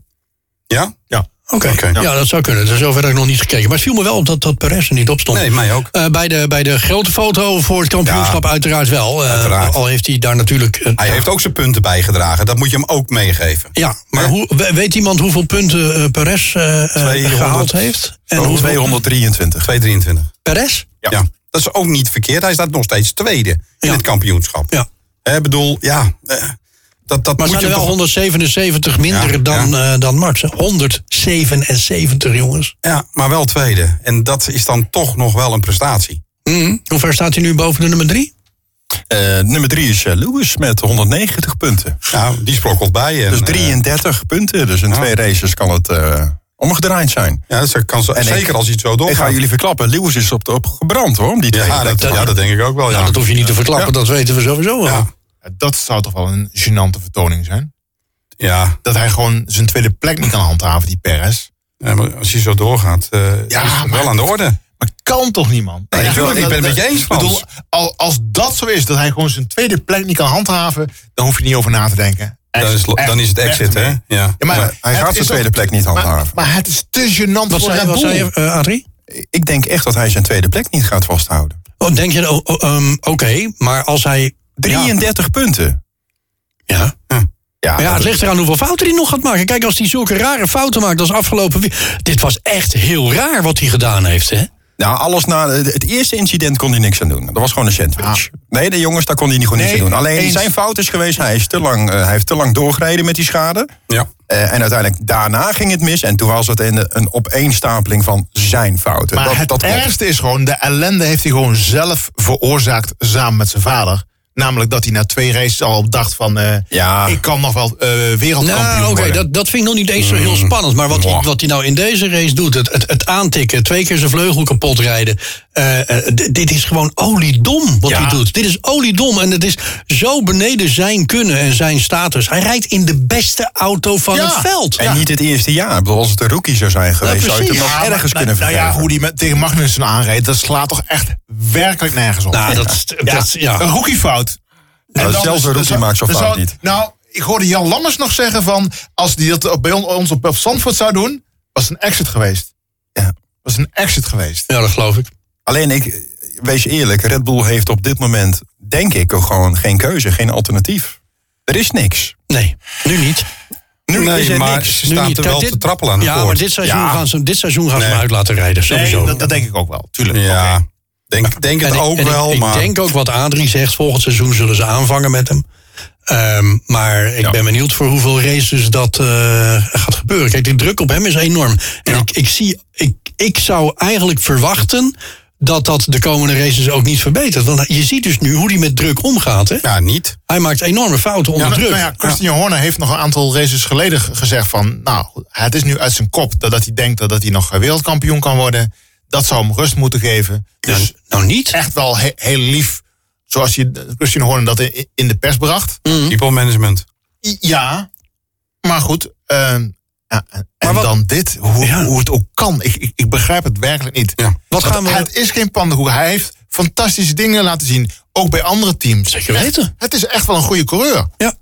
Speaker 3: Ja?
Speaker 2: Ja.
Speaker 1: Oké,
Speaker 3: Oké.
Speaker 1: ja. dat zou kunnen. Daar zover heb ik nog niet gekeken. Maar het viel me wel op dat, dat Perez er niet op stond.
Speaker 3: Nee, mij ook.
Speaker 1: Eh, bij, de, bij de grote foto voor het kampioenschap uiteraard wel. Eh,
Speaker 3: uiteraard. Ah,
Speaker 1: Al heeft hij daar natuurlijk... eh,
Speaker 3: Hij heeft ook zijn punten bijgedragen. Dat moet je hem ook meegeven.
Speaker 1: ja, maar hoe, we- weet iemand hoeveel punten eh Perez eh, eh,
Speaker 3: 200.
Speaker 1: gehaald heeft? En
Speaker 4: Oh,
Speaker 1: hoeveel
Speaker 4: 223.
Speaker 3: 223.
Speaker 1: Perez?
Speaker 3: Ja. Dat is ook niet verkeerd. Hij staat nog steeds tweede in
Speaker 1: Ja.
Speaker 3: het kampioenschap.
Speaker 1: Ja.
Speaker 3: Ik bedoel, ja. eh, Dat, dat
Speaker 1: Maar
Speaker 3: moet
Speaker 1: zijn
Speaker 3: je
Speaker 1: er wel
Speaker 3: toch-
Speaker 1: 177 minder
Speaker 3: Ja,
Speaker 1: dan, eh, dan Max? hè? 177, jongens.
Speaker 3: Ja, maar wel tweede. En dat is dan toch nog wel een prestatie.
Speaker 1: Mhm. Hoe ver staat hij nu boven de nummer 3?
Speaker 4: Eh, nummer drie is eh, Lewis met 190 punten.
Speaker 3: Nou, die sprokkelt bij. En,
Speaker 4: Dus
Speaker 3: eh,
Speaker 4: 33 punten. Dus in twee races kan het eh, omgedraaid zijn.
Speaker 3: ja, dus dat kan zo,
Speaker 4: En
Speaker 3: zeker
Speaker 4: ik-
Speaker 3: als hij het zo
Speaker 4: Ik
Speaker 3: doorgaat.
Speaker 4: ga jullie verklappen, Lewis is op de op gebrand hoor. om Die tweede
Speaker 3: ja,
Speaker 4: plek
Speaker 3: dat,
Speaker 4: te
Speaker 3: ja, dat denk ik ook wel. Ja.
Speaker 1: Nou, Dat hoef je niet te verklappen, dat weten we sowieso wel.
Speaker 3: Ja.
Speaker 2: Dat zou toch wel een gênante vertoning zijn.
Speaker 3: Ja.
Speaker 2: Dat hij gewoon zijn tweede plek niet kan handhaven, die Perez.
Speaker 3: Ja, maar als hij zo doorgaat, eh,
Speaker 2: Ja,
Speaker 3: is het
Speaker 2: maar-
Speaker 3: wel aan de orde.
Speaker 2: Maar kan toch niemand?
Speaker 3: Nee, ik wil- ik ben het met je eens, Frans.
Speaker 2: bedoel, al- als dat zo is, dat hij gewoon zijn tweede plek niet kan handhaven, dan hoef je niet over na te denken.
Speaker 3: Dan is,
Speaker 2: Echt,
Speaker 3: dan is het
Speaker 2: weg
Speaker 3: exit, hè?
Speaker 2: ermee.
Speaker 3: Ja.
Speaker 2: Ja, maar
Speaker 4: Maar hij
Speaker 2: het
Speaker 4: gaat
Speaker 2: is
Speaker 4: zijn
Speaker 2: ook-
Speaker 4: tweede plek niet
Speaker 2: Maar,
Speaker 4: handhaven.
Speaker 2: maar het is te gênant
Speaker 1: Wat
Speaker 2: voor
Speaker 1: zei,
Speaker 2: Red
Speaker 1: wat
Speaker 2: Bull.
Speaker 1: zei je, eh, Adrie?
Speaker 4: ik denk echt dat hij zijn tweede plek niet gaat vasthouden.
Speaker 1: Oh, denk je, oh, oh, ehm, oké, maar als hij...
Speaker 4: 33 punten.
Speaker 1: Ja.
Speaker 4: Ja,
Speaker 1: Maar ja,
Speaker 4: dat
Speaker 1: het
Speaker 4: is-
Speaker 1: ligt eraan hoeveel fouten hij nog gaat maken. Kijk, als hij zulke rare fouten maakt als afgelopen week... Dit was echt heel raar wat hij gedaan heeft, hè?
Speaker 4: nou, alles na het eerste incident kon hij niks aan doen. Dat was gewoon een sandwich. Nee, de jongens, daar kon hij niet gewoon niks
Speaker 2: Nee,
Speaker 4: aan doen. Alleen
Speaker 2: eens.
Speaker 4: zijn fout is geweest, hij, is te lang, eh, hij heeft te lang doorgereden met die schade.
Speaker 3: Ja.
Speaker 4: Eh, en uiteindelijk daarna ging het mis. En toen was het een, een opeenstapeling van zijn fouten.
Speaker 2: Maar
Speaker 4: dat,
Speaker 2: het
Speaker 4: dat klopt.
Speaker 2: ergste is gewoon, de ellende heeft hij gewoon zelf veroorzaakt samen met zijn vader. Namelijk dat hij na twee races al op dacht van, eh,
Speaker 4: Ja.
Speaker 2: ik kan nog wel eh, wereldkampioen
Speaker 1: Nou, oké,
Speaker 2: worden.
Speaker 1: dat, dat vind ik nog niet eens zo heel spannend. Maar wat, hij- wat hij nou in deze race doet, het, het, het aantikken... twee keer zijn vleugel kapot rijden... eh, eh, d- dit is gewoon oliedom wat
Speaker 2: Ja.
Speaker 1: hij doet. Dit is oliedom en het is zo beneden zijn kunnen en zijn status. Hij rijdt in de beste auto van
Speaker 2: Ja.
Speaker 1: het veld.
Speaker 4: En niet het eerste jaar. Ik bedoel, als het een rookie zou zijn geweest, zou je het hem
Speaker 1: precies.
Speaker 4: nog
Speaker 2: maar-
Speaker 4: ergens kunnen
Speaker 2: nou,
Speaker 4: vergeven.
Speaker 2: ja, hoe die met, tegen Magnussen aanreed, dat slaat toch echt werkelijk nergens op.
Speaker 1: Nou, dat, is- dat, ja.
Speaker 2: Een rookiefout.
Speaker 4: zelfs een rookie maakt zo'n
Speaker 2: dan
Speaker 4: fout
Speaker 2: zou-
Speaker 4: niet.
Speaker 2: Nou, ik hoorde Jan Lammers nog zeggen van... als die dat bij on- ons op op Zandvoort zou doen, was het een exit geweest.
Speaker 4: Ja.
Speaker 2: Was een exit geweest.
Speaker 1: Ja, dat geloof ik.
Speaker 4: Alleen ik, wees eerlijk, Red Bull heeft op dit moment, denk ik, ook gewoon geen keuze, geen alternatief. Er is niks.
Speaker 1: Nee, nu niet.
Speaker 4: Nu is
Speaker 3: nee,
Speaker 4: er
Speaker 3: maar
Speaker 4: niks.
Speaker 3: ze staan
Speaker 1: niet.
Speaker 3: er wel
Speaker 1: Dit-
Speaker 3: te trappelen aan de
Speaker 1: Ja,
Speaker 3: koord.
Speaker 1: maar dit seizoen
Speaker 2: Ja.
Speaker 1: gaan ze, dit seizoen gaan ze hem uit laten rijden, sowieso.
Speaker 2: Nee, dat, dat denk ik ook wel. Tuurlijk.
Speaker 3: Ja,
Speaker 2: Oké.
Speaker 3: denk, denk het
Speaker 1: En ik-
Speaker 3: ook
Speaker 1: en ik-
Speaker 3: wel,
Speaker 1: ik,
Speaker 3: maar...
Speaker 1: denk ook wat Adrie zegt, volgend seizoen zullen ze aanvangen met hem. Ehm, maar ik ben benieuwd voor hoeveel races dat eh, gaat gebeuren. Kijk, die druk op hem is enorm. En ik, ik, zie, ik, ik zou eigenlijk verwachten dat dat de komende races ook niet verbetert. Want je ziet dus nu hoe hij met druk omgaat. Hè?
Speaker 3: Ja, niet.
Speaker 1: Hij maakt enorme fouten onder
Speaker 2: Ja, nou,
Speaker 1: druk. Ah,
Speaker 2: nou ja, Christian Horner heeft nog een aantal races geleden g- gezegd van... nou, het is nu uit zijn kop dat, dat hij denkt dat, dat hij nog eh, wereldkampioen kan worden. Dat zou hem rust moeten geven. Dus
Speaker 1: Nou, nou niet.
Speaker 2: echt wel he- heel lief, zoals je eh, Christian Horner dat in, in de pers bracht.
Speaker 3: People management.
Speaker 2: I- Ja, maar goed. eh, ja, en
Speaker 1: Maar wat-
Speaker 2: dan dit, hoe,
Speaker 1: Ja.
Speaker 2: hoe het ook kan. Ik, ik, ik begrijp het werkelijk niet.
Speaker 3: Ja.
Speaker 1: Wat
Speaker 2: Want
Speaker 1: gaan we...
Speaker 2: Het is geen pandenkoek. Hij heeft fantastische dingen laten zien. Ook bij andere teams.
Speaker 1: Zeker
Speaker 2: Echt,
Speaker 1: weten.
Speaker 2: Het is echt wel een goede coureur.
Speaker 1: Ja.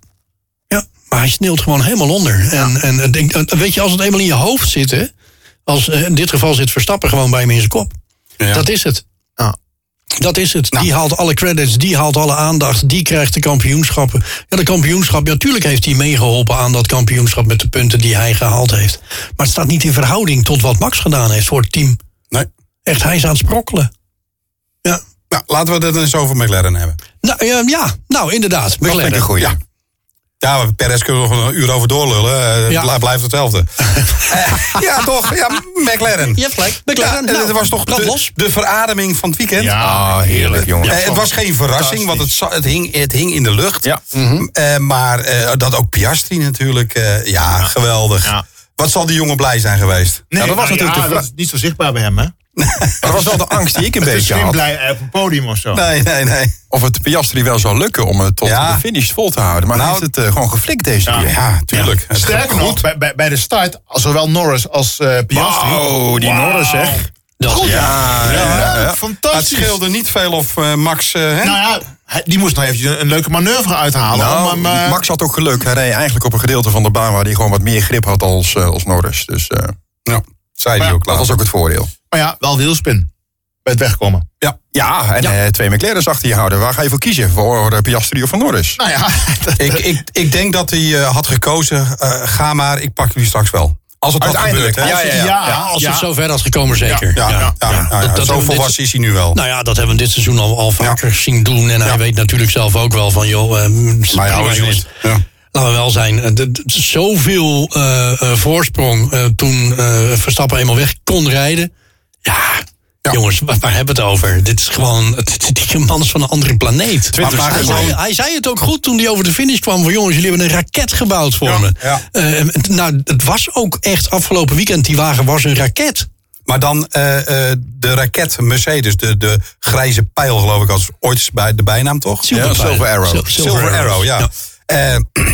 Speaker 1: ja, maar hij sneelt gewoon helemaal onder. En, en, en denk- en weet je, als het eenmaal in je hoofd zit, hè, als, eh, in dit geval zit Verstappen gewoon bij hem in zijn kop.
Speaker 3: Ja. Nou.
Speaker 1: Dat is het.
Speaker 2: Ja.
Speaker 1: Dat is het. Die haalt alle credits, die haalt alle aandacht, die krijgt de kampioenschappen. Ja, de kampioenschap, ja, natuurlijk heeft hij meegeholpen aan dat kampioenschap met de punten die hij gehaald heeft. Maar het staat niet in verhouding tot wat Max gedaan heeft voor het team.
Speaker 3: Nee.
Speaker 1: Echt, hij is aan het sprokkelen. Ja,
Speaker 3: Nou, laten we het eens over McLaren hebben.
Speaker 1: nou, eh, ja. nou inderdaad.
Speaker 4: Dat vind ik een
Speaker 1: McLaren.
Speaker 4: goeie.
Speaker 3: Ja. Ja, maar Perez kunnen we nog een uur over doorlullen. Eh, Het
Speaker 1: Ja.
Speaker 3: blij- blijft hetzelfde. (laughs) Eh, ja, toch? Ja, McLaren.
Speaker 1: Je hebt gelijk. McLaren.
Speaker 3: Ja,
Speaker 1: nou,
Speaker 3: het was toch
Speaker 1: brand
Speaker 3: de,
Speaker 1: los.
Speaker 3: de verademing van het weekend?
Speaker 4: Ah, heerlijk, jongen.
Speaker 3: Eh, het was geen verrassing, want het,
Speaker 2: fantastisch.
Speaker 3: za- het, hing, het hing in de lucht.
Speaker 4: Ja.
Speaker 3: Eh, maar eh, dat ook Piastri natuurlijk. eh, ja, geweldig.
Speaker 2: Ja.
Speaker 3: Wat zal die jongen blij zijn geweest?
Speaker 2: Nee,
Speaker 3: ja, dat was
Speaker 2: nou
Speaker 3: natuurlijk
Speaker 2: ja,
Speaker 3: de vraag.
Speaker 2: dat is niet zo zichtbaar bij hem, hè? Dus
Speaker 4: Dat was wel de angst die ik (laughs) een
Speaker 2: Het is
Speaker 4: beetje
Speaker 2: geen
Speaker 4: had.
Speaker 2: blij eh, op een podium of zo.
Speaker 3: Nee, nee, nee.
Speaker 4: Of het Piastri wel zou lukken om het tot
Speaker 3: Ja.
Speaker 4: de finish vol te houden. Maar
Speaker 3: Nou,
Speaker 4: hij heeft het eh, gewoon geflikt deze
Speaker 2: Ja.
Speaker 4: keer.
Speaker 3: Ja, tuurlijk. Het
Speaker 2: Sterker
Speaker 3: gaat
Speaker 2: nog, bij, bij, bij de start, zowel Norris als eh Piastri.
Speaker 4: Wauw, die
Speaker 2: Wauw.
Speaker 4: Norris, zeg.
Speaker 1: Dat-
Speaker 4: Ja, ja, ja.
Speaker 2: Ja,
Speaker 3: Het
Speaker 2: fantastisch.
Speaker 3: scheelde niet veel of eh, Max... eh, hè?
Speaker 2: Nou ja, hij- die moest nog even een leuke manoeuvre uithalen.
Speaker 4: Nou,
Speaker 2: om hem, eh,
Speaker 4: Max had ook geluk. Hij reed eigenlijk op een gedeelte van de baan waar hij gewoon wat meer grip had als, eh, als Norris. Dus eh,
Speaker 3: ja,
Speaker 2: Maar
Speaker 3: zei die
Speaker 2: ja,
Speaker 3: ook
Speaker 4: dat
Speaker 3: later.
Speaker 4: was ook het voordeel.
Speaker 2: Maar ja, wel wielspin. Bij het wegkomen.
Speaker 3: Ja.
Speaker 4: Ja, en eh, twee McLaren's achter je houden. Waar ga je voor kiezen? Voor eh, Piastri of van Norris?
Speaker 2: Nou ja, (laughs) dat-
Speaker 3: Ik, ik, ik denk dat hij eh, had gekozen, eh, ga maar, ik pak jullie straks wel. Als het had
Speaker 4: Uiteindelijk,
Speaker 3: gebeurd, hè?
Speaker 4: ja, ja, ja.
Speaker 1: Ja, als het
Speaker 2: ja.
Speaker 1: zover had gekomen, zeker.
Speaker 3: Ja, ja, ja, ja.
Speaker 1: Dat- dat
Speaker 3: zo
Speaker 1: doen we dit-
Speaker 3: volwassen is hij nu wel.
Speaker 1: Nou ja, dat hebben we dit seizoen al, al vaker zien doen. En hij weet natuurlijk zelf ook wel van, joh, eh, prima,
Speaker 3: ja,
Speaker 1: jongens.
Speaker 3: jongens. Ja.
Speaker 1: Laten we wel zijn. eh, d- d- Zoveel eh, eh, voorsprong eh, toen eh, Verstappen eenmaal weg kon rijden. Ja, jongens, waar, waar hebben we het over? Dit is gewoon, dit- die man is van een andere planeet.
Speaker 3: Maar- maar
Speaker 1: hij,
Speaker 3: gewoon-
Speaker 1: zei, hij zei het ook goed toen hij over de finish kwam. Van jongens, jullie hebben een raket gebouwd voor me.
Speaker 3: ja.
Speaker 1: Eh, en- nou, het was ook echt afgelopen weekend. Die wagen was een raket.
Speaker 3: Maar dan eh, eh, de raket Mercedes, de, de grijze pijl geloof ik als ooit bij de bijnaam toch?
Speaker 1: Silver
Speaker 4: Ja,
Speaker 1: Pijl.
Speaker 4: Silver Arrow.
Speaker 1: Sil-
Speaker 3: Silver, Arrow, ja. Eh, (clears throat)